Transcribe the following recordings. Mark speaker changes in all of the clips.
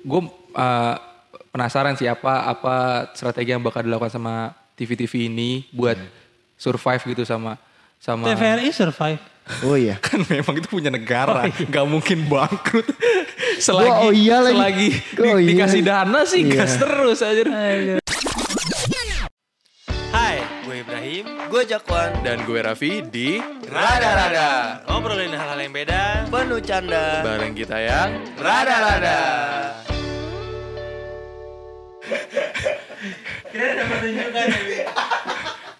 Speaker 1: gue eh, penasaran sih apa apa strategi yang bakal dilakukan sama TV-TV ini buat survive gitu sama sama
Speaker 2: TVRI survive.
Speaker 3: Oh iya.
Speaker 1: kan memang itu punya negara, nggak mungkin bangkrut. selagi
Speaker 3: Oh, Gua oh iya lagi.
Speaker 1: selagi di-
Speaker 3: Gua oh iya.
Speaker 1: dikasih dana sih
Speaker 3: Iya.
Speaker 1: gas terus aja.
Speaker 4: Hai, gue Ibrahim,
Speaker 5: Gue Jakwan,
Speaker 4: dan gue Raffi di
Speaker 5: Rada-Rada.
Speaker 4: Ngobrolin hal-hal yang beda
Speaker 5: penuh canda.
Speaker 4: bareng kita yang
Speaker 5: Rada-Rada.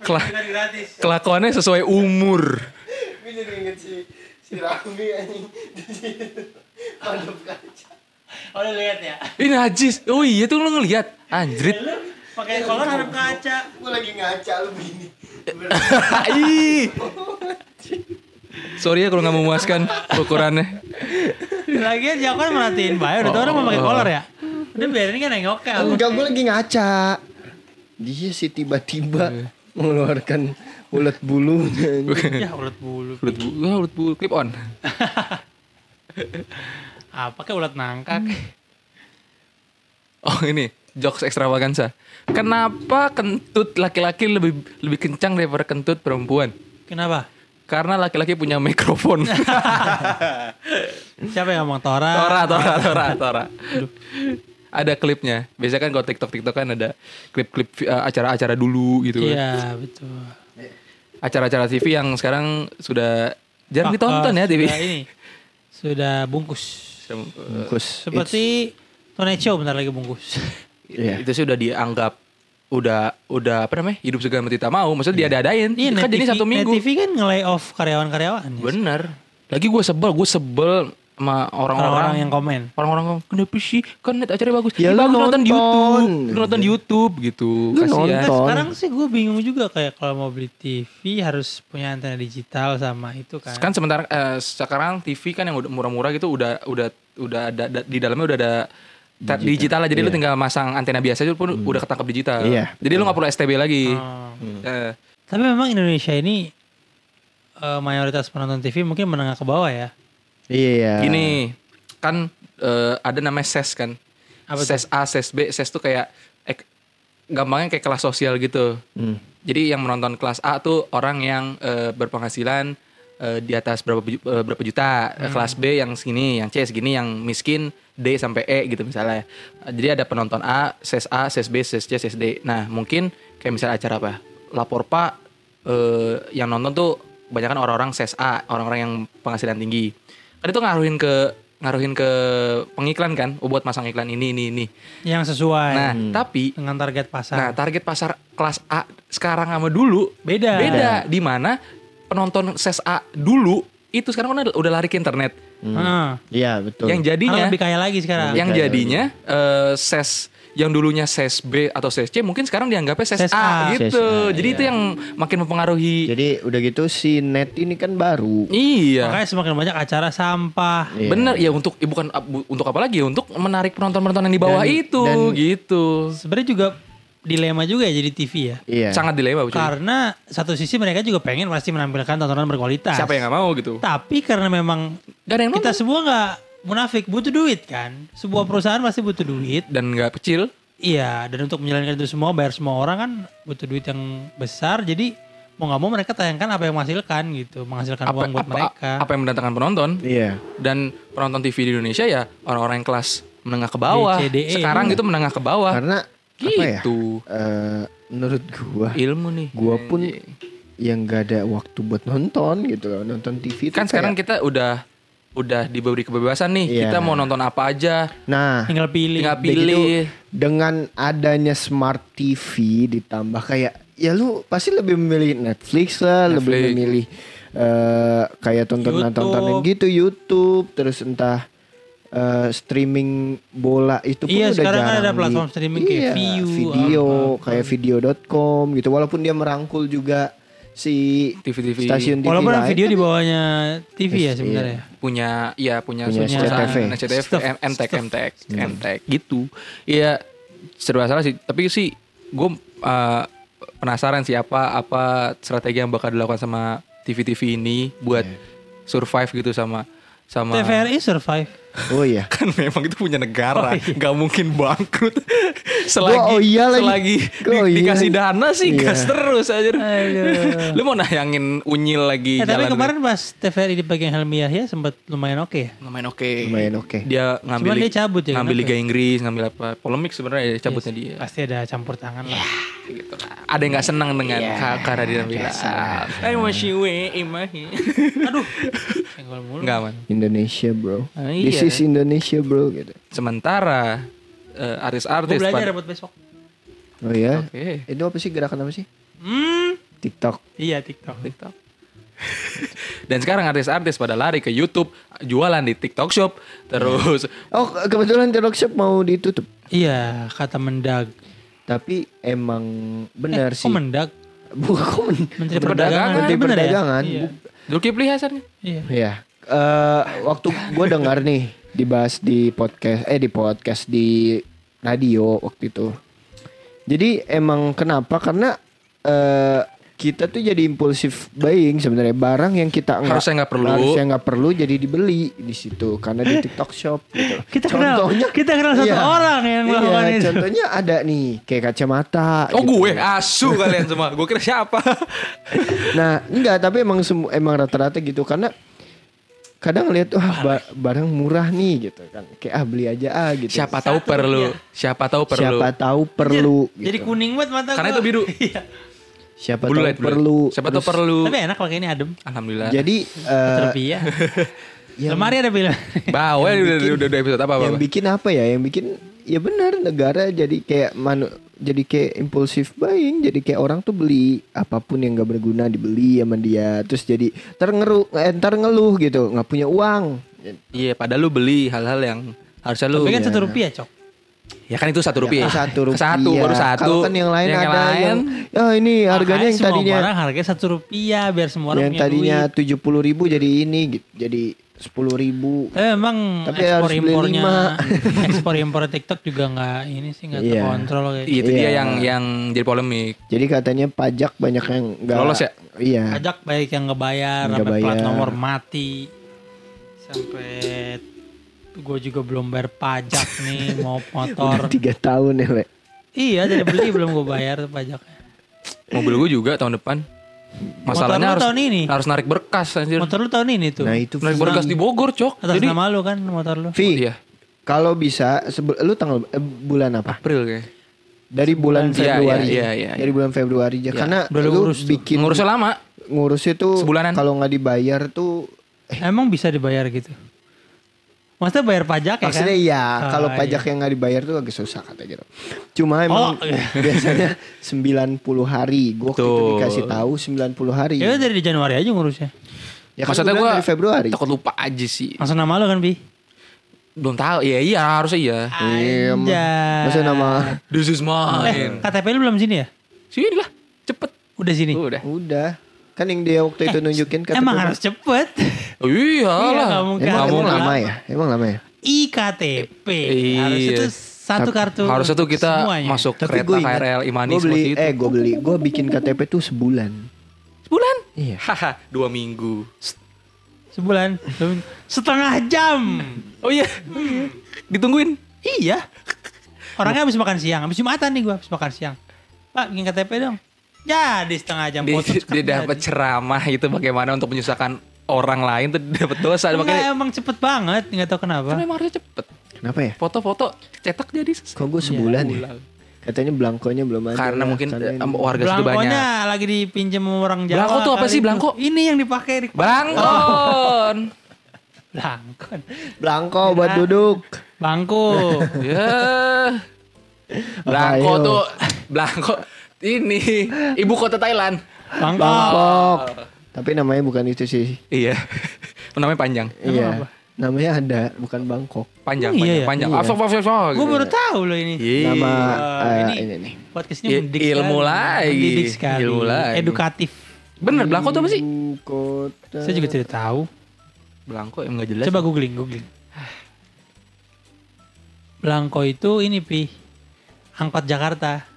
Speaker 1: Kela- kelakuannya sesuai umur.
Speaker 5: Gue jadi inget si, si Raffi anjing. Di situ. Pondok kaca.
Speaker 2: Oh lu lihat ya.
Speaker 1: Ini najis. Oh iya tuh lu ngeliat. Anjrit.
Speaker 2: Lu pakai kolor harap kaca.
Speaker 5: Gue lagi ngaca lu gini.
Speaker 1: Ih. Sorry ya kalau nggak memuaskan ukurannya.
Speaker 2: Lagian Jakon merhatiin baik. Udah tau orang mau pakai kolor ya. Udah biarin kan nengok ya.
Speaker 1: Oh,
Speaker 3: Enggak, gue lagi ngaca. Dia sih tiba-tiba mengeluarkan ulet bulu.
Speaker 2: Ya ulat bulu.
Speaker 1: Ulut bu, wah, ulut bu, clip on.
Speaker 2: Apa kayak ulat nangka? kek.
Speaker 1: Oh ini jokes ekstravaganza. Kenapa kentut laki-laki lebih lebih kencang daripada kentut perempuan?
Speaker 2: Kenapa?
Speaker 1: Karena laki-laki punya mikrofon.
Speaker 2: Siapa yang ngomong Tora?
Speaker 1: Tora, Tora, Tora, Tora. ada klipnya. Biasanya kan kalau TikTok TikTok kan ada klip-klip eh, acara-acara dulu gitu. kan.
Speaker 2: Iya betul.
Speaker 1: Acara-acara TV yang sekarang sudah jarang ditonton ya
Speaker 2: Faktor
Speaker 1: TV.
Speaker 2: Sudah ini sudah bungkus.
Speaker 3: Bungkus.
Speaker 2: Seperti Tonight Show bentar lagi bungkus.
Speaker 3: Iya.
Speaker 1: Itu sih udah dianggap udah udah apa namanya hidup segala macam tidak mau. Maksudnya diada-adain.
Speaker 2: Iya,
Speaker 1: kan
Speaker 2: Net
Speaker 1: jadi
Speaker 2: TV
Speaker 1: satu minggu.
Speaker 2: Net TV kan nge-lay off karyawan-karyawan. ya.
Speaker 1: Bener. Lagi gue sebel, gue sebel sama
Speaker 2: Orang-orang
Speaker 1: orang-orang
Speaker 2: yang komen.
Speaker 1: orang-orang ngomong, kenapa sih kan net acaranya bagus Ih,
Speaker 3: Ya, lu
Speaker 1: bagus nonton di
Speaker 3: nonton.
Speaker 1: YouTube Lu nonton di YouTube gitu
Speaker 3: Lu
Speaker 2: Nah,
Speaker 1: kasihan
Speaker 3: nonton.
Speaker 2: sekarang sih gue bingung juga kayak kalau mau beli TV harus punya antena digital sama itu kan.
Speaker 1: kan sementara eh, sekarang TV kan yang udah murah-murah gitu udah udah udah ada da- di dalamnya udah ada ta- digital, lah jadi lu tinggal masang antena biasa itu pun udah ketangkap digital
Speaker 3: Iya,
Speaker 1: jadi lu nggak perlu STB lagi
Speaker 2: Oh.
Speaker 1: Eh,
Speaker 2: Tapi memang Indonesia ini eh, mayoritas penonton TV mungkin menengah ke bawah ya.
Speaker 3: Iya.
Speaker 1: gini kan eh, ada namanya ses kan
Speaker 2: Apa tuh?
Speaker 1: ses A ses B ses tuh kayak ek- gampangnya kayak kelas sosial gitu
Speaker 3: Hmm.
Speaker 1: Jadi yang menonton kelas A tuh orang yang eh, berpenghasilan eh, di atas berapa ju- eh, berapa juta.
Speaker 2: Hmm.
Speaker 1: Kelas B yang segini, yang C segini, yang miskin D sampai E gitu misalnya. Jadi ada penonton A, ses A, ses B, ses C, ses D. Nah, mungkin kayak misalnya acara apa? Lapor Pak eh, yang nonton tuh kebanyakan orang-orang ses A, orang-orang yang penghasilan tinggi. Kan itu ngaruhin ke ngaruhin ke pengiklan kan, oh, buat masang iklan ini ini ini.
Speaker 2: Yang sesuai
Speaker 1: Nah, tapi
Speaker 2: dengan target
Speaker 1: Nah,
Speaker 2: pasar.
Speaker 1: target pasar kelas A sekarang sama dulu
Speaker 2: Beda.
Speaker 1: beda. Di mana penonton ses A dulu itu sekarang kan udah- udah lari ke internet.
Speaker 2: Heeh.
Speaker 3: Iya betul.
Speaker 1: Yang Nah. jadinya
Speaker 2: Karena lebih kaya lagi sekarang.
Speaker 1: yang
Speaker 3: Kayak
Speaker 1: jadinya eh, ses yang dulunya ses B atau ses C mungkin sekarang dianggapnya ses,
Speaker 2: Ses
Speaker 1: A,
Speaker 2: A.
Speaker 1: gitu.
Speaker 3: Ses A, iya.
Speaker 1: Jadi itu yang makin mempengaruhi.
Speaker 3: Jadi udah gitu si net ini kan baru.
Speaker 1: iya.
Speaker 2: Makanya semakin banyak acara sampah.
Speaker 3: Iya.
Speaker 1: Bener ya untuk ya bukan bu- untuk apa lagi ya untuk menarik penonton-penonton yang di bawah
Speaker 3: Dan-
Speaker 1: itu
Speaker 3: dan-
Speaker 1: gitu.
Speaker 2: Sebenarnya juga dilema juga ya jadi TV ya.
Speaker 3: Iya.
Speaker 1: Sangat dilema cuy.
Speaker 2: Karena satu sisi mereka juga pengen pasti menampilkan tontonan berkualitas.
Speaker 1: Siapa yang gak mau gitu?
Speaker 2: Tapi karena memang
Speaker 1: Gak ada yang nonton
Speaker 2: kita semua nggak munafik butuh duit kan. Sebuah perusahaan pasti butuh duit.
Speaker 1: dan gak kecil.
Speaker 2: Iya, dan untuk menjalankan itu semua bayar semua orang kan butuh duit yang besar. Jadi mau nggak mau mereka tayangkan apa yang menghasilkan gitu, menghasilkan
Speaker 1: Apa,
Speaker 2: uang buat
Speaker 1: apa,
Speaker 2: mereka.
Speaker 1: apa yang mendatangkan penonton?
Speaker 3: Iya.
Speaker 1: dan penonton TV di Indonesia ya orang-orang yang kelas menengah ke bawah.
Speaker 2: D, C, D, E.
Speaker 1: Sekarang itu menengah ke bawah.
Speaker 3: Karena apa ya?
Speaker 1: Ah, gitu. Iya.
Speaker 3: Eh, menurut gua,
Speaker 1: Ilmu nih.
Speaker 3: gua pun yang gak ada waktu buat nonton gitu loh nonton TV itu
Speaker 1: kan sekarang
Speaker 3: kayak-
Speaker 1: kita udah udah diberi kebebasan nih.
Speaker 3: Iya.
Speaker 1: Kita mau nonton apa aja,
Speaker 3: nah
Speaker 2: Tinggal pilih.
Speaker 1: tinggal
Speaker 3: Udah gitu,
Speaker 1: pilih.
Speaker 3: dengan adanya smart TV ditambah kayak ya lu pasti lebih memilih Netflix lah,
Speaker 1: Netflix.
Speaker 3: lebih memilih eh, kayak tontonan-tontonan
Speaker 2: YouTube.
Speaker 3: gitu YouTube, terus entah eh, streaming bola itu pun
Speaker 2: Iya,
Speaker 3: udah
Speaker 2: sekarang kan
Speaker 3: jarang
Speaker 2: ada platform
Speaker 3: di-
Speaker 2: streaming kayak
Speaker 3: iya,
Speaker 2: Viu,
Speaker 3: video
Speaker 2: apa-apa.
Speaker 3: kayak video.com gitu walaupun dia merangkul juga si
Speaker 1: TV-TV.
Speaker 3: stasiun TV
Speaker 2: Walaupun
Speaker 3: lain,
Speaker 2: video
Speaker 3: tapi
Speaker 2: di bawahnya TV ya
Speaker 3: Yes,
Speaker 2: sebenarnya.
Speaker 1: punya ya punya,
Speaker 3: Punya
Speaker 1: perusahaan,
Speaker 3: SCTV.
Speaker 1: SCTV,
Speaker 2: Stuff,
Speaker 1: M- E MTek,
Speaker 2: stuff.
Speaker 1: MTek,
Speaker 3: Hmm.
Speaker 1: MTek gitu. Iya serba salah sih. Tapi sih gue eh, penasaran sih apa
Speaker 3: Iya.
Speaker 1: apa strategi yang bakal dilakukan sama TV-TV ini buat survive gitu sama sama
Speaker 2: TVRI survive.
Speaker 3: Oh iya.
Speaker 1: kan memang itu punya
Speaker 2: Oh,
Speaker 1: negara,
Speaker 2: iya.
Speaker 1: nggak mungkin bangkrut. selagi
Speaker 3: Gua oh iya lagi.
Speaker 1: selagi
Speaker 3: Gua
Speaker 1: di-
Speaker 3: oh iya
Speaker 1: dikasih
Speaker 3: lagi.
Speaker 1: dana sih
Speaker 3: Iya.
Speaker 1: gas terus aja.
Speaker 2: Aduh.
Speaker 1: Lu mau nayangin unyil lagi
Speaker 2: Eh, tapi
Speaker 1: jalan.
Speaker 2: kemarin pas TVRI dipegang Helmi Yahya sempat lumayan oke ya.
Speaker 1: lumayan oke.
Speaker 3: Lumayan oke.
Speaker 1: Dia ngambil
Speaker 2: dia cabut ya,
Speaker 1: ngambil
Speaker 2: kenapa
Speaker 1: Liga Inggris, ngambil apa? Polemik sebenarnya ya, cabutnya dia.
Speaker 2: Pasti ada campur tangan lah.
Speaker 1: Gitu lah. Ada yang nggak senang dengan
Speaker 3: Iya.
Speaker 1: yeah, Karadina Bila. I wish you were imahi.
Speaker 2: Iya. Aduh. Senggol mulu.
Speaker 1: Enggak man.
Speaker 3: Indonesia bro.
Speaker 1: Ah,
Speaker 3: This
Speaker 1: iya.
Speaker 3: is Indonesia bro gitu.
Speaker 1: Sementara eh,
Speaker 2: Gue
Speaker 1: artis-artis
Speaker 2: belajar
Speaker 1: pada-
Speaker 2: buat besok.
Speaker 3: Oh ya.
Speaker 1: Oke.
Speaker 3: Itu apa sih gerakan apa sih?
Speaker 2: Hmm.
Speaker 3: TikTok.
Speaker 2: Iya TikTok.
Speaker 1: TikTok. Dan sekarang artis-artis pada lari ke YouTube, jualan di TikTok Shop, terus
Speaker 3: Oh ke- kebetulan TikTok Shop mau ditutup.
Speaker 2: Iya kata mendag.
Speaker 3: Tapi emang benar
Speaker 2: eh,
Speaker 3: sih.
Speaker 2: Kok mendag?
Speaker 3: Bukan komen.
Speaker 2: Menteri
Speaker 1: Menteri Perdagangan.
Speaker 2: Perdagangan.
Speaker 3: Menteri
Speaker 2: Bener ya?
Speaker 3: Perdagangan.
Speaker 2: Iya.
Speaker 3: Bu-
Speaker 1: Zulkifli Hasan.
Speaker 2: Iya.
Speaker 3: Iya. Eh, waktu gue dengar nih dibahas di podcast eh di podcast di radio waktu itu. Jadi emang kenapa? Karena eh kita tuh jadi impulsif buying sebenarnya barang yang kita enggak,
Speaker 1: Harusnya nggak perlu.
Speaker 3: harusnya nggak perlu jadi dibeli di situ karena di TikTok Shop gitu. loh.
Speaker 2: Kita kenal- kita kenal satu orang yang melakukan itu.
Speaker 3: Contohnya ada nih kayak kacamata.
Speaker 1: Oh
Speaker 3: gitu.
Speaker 1: gue, asu kalian semua. Gue kira siapa?
Speaker 3: Nah, enggak, tapi emang semu- emang rata-rata gitu karena kadang lihat wah ba- barang murah nih gitu kan. Kayak ah beli aja ah gitu.
Speaker 1: siapa tahu
Speaker 2: Satu
Speaker 1: perlu.
Speaker 2: rupiah.
Speaker 1: Siapa tahu perlu. Iya,
Speaker 3: Siapa tahu perlu gitu.
Speaker 2: Iya, Jadi kuning banget mata
Speaker 1: Karena
Speaker 2: gua.
Speaker 1: itu biru.
Speaker 2: Iya.
Speaker 3: siapa
Speaker 1: Blue
Speaker 3: tahu
Speaker 1: light, blue light.
Speaker 3: perlu.
Speaker 1: Siapa tahu
Speaker 3: Terus-
Speaker 1: perlu. kan?
Speaker 2: Tapi enak pakai ini adem.
Speaker 1: Alhamdulillah.
Speaker 3: Jadi eh, iya,
Speaker 2: Terpiah.
Speaker 3: yang-
Speaker 2: Lemari ada film.
Speaker 1: Bawel udah, udah, udah episode apa apa?
Speaker 3: yang bikin apa ya? Yang bikin ya benar negara jadi kayak manu jadi kayak impulsif buying jadi kayak orang tuh beli apapun yang gak berguna dibeli sama dia terus jadi terngeru eh, ntar ngeluh gitu nggak punya uang
Speaker 1: Iya, padahal lu beli hal-hal yang harusnya lu.
Speaker 2: Tapi
Speaker 3: Iya,
Speaker 2: kan satu rupiah cok.
Speaker 1: Ya kan itu satu rupiah.
Speaker 3: Yang satu rupiah.
Speaker 1: Satu baru satu.
Speaker 3: Kalau kan yang lain ada yang, ya ini
Speaker 2: Makanya
Speaker 3: harganya yang
Speaker 2: semua
Speaker 3: tadinya
Speaker 2: barang harganya satu rupiah biar semua orang
Speaker 3: yang
Speaker 2: punya
Speaker 3: tadinya
Speaker 2: duit.
Speaker 3: tujuh puluh ribu jadi ini gitu. jadi sepuluh ribu.
Speaker 2: Tapi Eh, emang
Speaker 3: Tapi
Speaker 2: ekspor
Speaker 3: harus beli
Speaker 2: impornya
Speaker 3: lima.
Speaker 2: ekspor impor TikTok juga nggak ini sih nggak
Speaker 3: Iya.
Speaker 2: terkontrol kayak. gitu.
Speaker 1: Itu dia
Speaker 3: Iya.
Speaker 1: yang yang jadi polemik.
Speaker 3: Jadi katanya pajak banyak yang nggak
Speaker 1: Lolos ya?
Speaker 3: Iya.
Speaker 2: Pajak baik yang nggak bayar,
Speaker 3: Nggak
Speaker 2: sampai plat
Speaker 3: bayar.
Speaker 2: nomor mati, sampai gue juga belum bayar pajak nih mau
Speaker 3: Udah
Speaker 2: motor.
Speaker 3: tiga tahun ya, Le.
Speaker 2: iya dari beli belum gue bayar tuh pajaknya.
Speaker 1: Mobil gue juga tahun depan. Masalahnya
Speaker 2: lu
Speaker 1: harus
Speaker 2: tahun ini?
Speaker 1: harus narik berkas anjir.
Speaker 2: Motor lu tahun ini tuh.
Speaker 3: Nah itu
Speaker 1: narik
Speaker 3: Vi.
Speaker 1: berkas di Bogor, Cok.
Speaker 2: Atas
Speaker 1: Jadi
Speaker 2: nama lu kan motor lu.
Speaker 3: Vi,
Speaker 1: Iya.
Speaker 3: kalau bisa sebul- lu tanggal eh, bulan apa?
Speaker 1: April kayak.
Speaker 3: Dari bulan
Speaker 1: Iya, iya,
Speaker 3: Februari.
Speaker 1: iya, iya, iya.
Speaker 3: Dari bulan Februari aja karena
Speaker 2: Udah lu
Speaker 3: lu
Speaker 2: ngurus tuh.
Speaker 3: bikin
Speaker 1: Ngurusnya lama.
Speaker 3: ngurus itu
Speaker 1: Sebulanan.
Speaker 3: kalau nggak dibayar tuh
Speaker 2: Emang bisa dibayar gitu? Maksudnya bayar pajak ya kan?
Speaker 3: Maksudnya iya,
Speaker 2: Ah,
Speaker 3: kalau
Speaker 2: iya.
Speaker 3: pajak yang nggak dibayar tuh agak susah kata gitu. Cuma emang biasanya 90 hari. Gue waktu itu
Speaker 1: Betul.
Speaker 3: dikasih tahu 90 hari.
Speaker 2: Ya udah dari Januari aja ngurusnya.
Speaker 3: Ya kan
Speaker 1: Maksudnya
Speaker 3: gua
Speaker 1: gue
Speaker 3: bilang dari Februari.
Speaker 1: takut lupa aja sih.
Speaker 2: Langsung nama lu kan, Bi?
Speaker 1: Belum tahu. Iya iya harusnya iya.
Speaker 3: Iya, emang.
Speaker 2: Anjay.
Speaker 3: Maksudnya nama
Speaker 1: This is
Speaker 2: Eh,
Speaker 1: mine.
Speaker 2: KTP lu belum sini ya?
Speaker 1: Sini lah, cepet.
Speaker 2: Udah sini.
Speaker 1: Udah.
Speaker 3: udah. Kan yang dia waktu itu nunjukin kata
Speaker 2: Emang
Speaker 3: gua,
Speaker 2: harus cepet.
Speaker 1: Oh, iya
Speaker 2: Iya,
Speaker 1: lah.
Speaker 2: nggak mungkin.
Speaker 3: Emang,
Speaker 2: Kamu
Speaker 3: emang
Speaker 2: kan.
Speaker 3: lama ya? Emang lama ya?
Speaker 2: IKTP.
Speaker 1: Iya.
Speaker 2: Harus itu
Speaker 1: Tapi
Speaker 2: satu kartu.
Speaker 1: Harus itu kita
Speaker 2: semuanya.
Speaker 1: masuk kereta
Speaker 3: gua ingat,
Speaker 1: KRL Imani
Speaker 3: gua beli,
Speaker 1: seperti itu.
Speaker 3: Eh gue beli, gue bikin KTP tuh sebulan.
Speaker 1: Sebulan?
Speaker 3: Iya.
Speaker 1: Kan? Haha, dua minggu.
Speaker 2: sebulan. Setengah jam.
Speaker 1: Oh iya. Ditungguin.
Speaker 2: iya. Orangnya habis makan siang, habis Jumatan nih gua habis makan siang. Pak, bikin KTP dong. Jadi setengah jam
Speaker 1: Dia,
Speaker 2: foto
Speaker 1: dia dapat ceramah itu bagaimana untuk menyusahkan orang lain tuh dapat dosa
Speaker 2: Enggak,
Speaker 1: makanya
Speaker 2: emang cepet banget, nggak tahu
Speaker 1: kan
Speaker 2: kenapa.
Speaker 1: emang harusnya cepet
Speaker 3: Kenapa ya?
Speaker 1: foto-foto cetak jadi
Speaker 3: Kok gue sebulan ya? Katanya belangkonya belum ada.
Speaker 1: karena
Speaker 3: lah,
Speaker 1: mungkin
Speaker 3: karena
Speaker 1: eh,
Speaker 3: ini.
Speaker 1: warga sudah banyak
Speaker 2: Belangkonya lagi dipinjam sama orang Jawa.
Speaker 1: Belangko tuh apa
Speaker 2: kali
Speaker 1: sih,
Speaker 2: itu.
Speaker 1: belangko?
Speaker 2: Ini yang dipakai di
Speaker 1: Belangkon
Speaker 2: Belangkon.
Speaker 3: Belangko buat duduk.
Speaker 2: Bangku.
Speaker 1: ya Belangko
Speaker 3: Ayo.
Speaker 1: tuh Belangko ini ibu kota Thailand
Speaker 2: Bangkok.
Speaker 3: Bangkok. Tapi namanya bukan itu sih.
Speaker 1: iya namanya panjang
Speaker 3: Iya. Namanya ada, bukan Bangkok.
Speaker 1: panjang
Speaker 2: Oh, iya ya?
Speaker 1: panjang panjang
Speaker 3: Iya.
Speaker 1: Afok, afok, afok,
Speaker 2: Gue
Speaker 1: gitu.
Speaker 2: baru tahu loh ini.
Speaker 1: Iya.
Speaker 3: Nama
Speaker 2: Eh,
Speaker 3: eh,
Speaker 2: ini-
Speaker 3: ini nih.
Speaker 2: Podcastnya
Speaker 1: I-
Speaker 2: mendidik
Speaker 1: ilmu
Speaker 2: sekali.
Speaker 1: lagi.
Speaker 2: Mendidik sekali.
Speaker 1: Ilmu lagi.
Speaker 2: Edukatif.
Speaker 1: bener Belangko tuh apa sih
Speaker 3: Ibu Kota.
Speaker 2: Saya juga tidak tahu.
Speaker 1: Belangko yang nggak jelas
Speaker 2: Coba googling, googling. Belangko itu ini pi angkot Jakarta.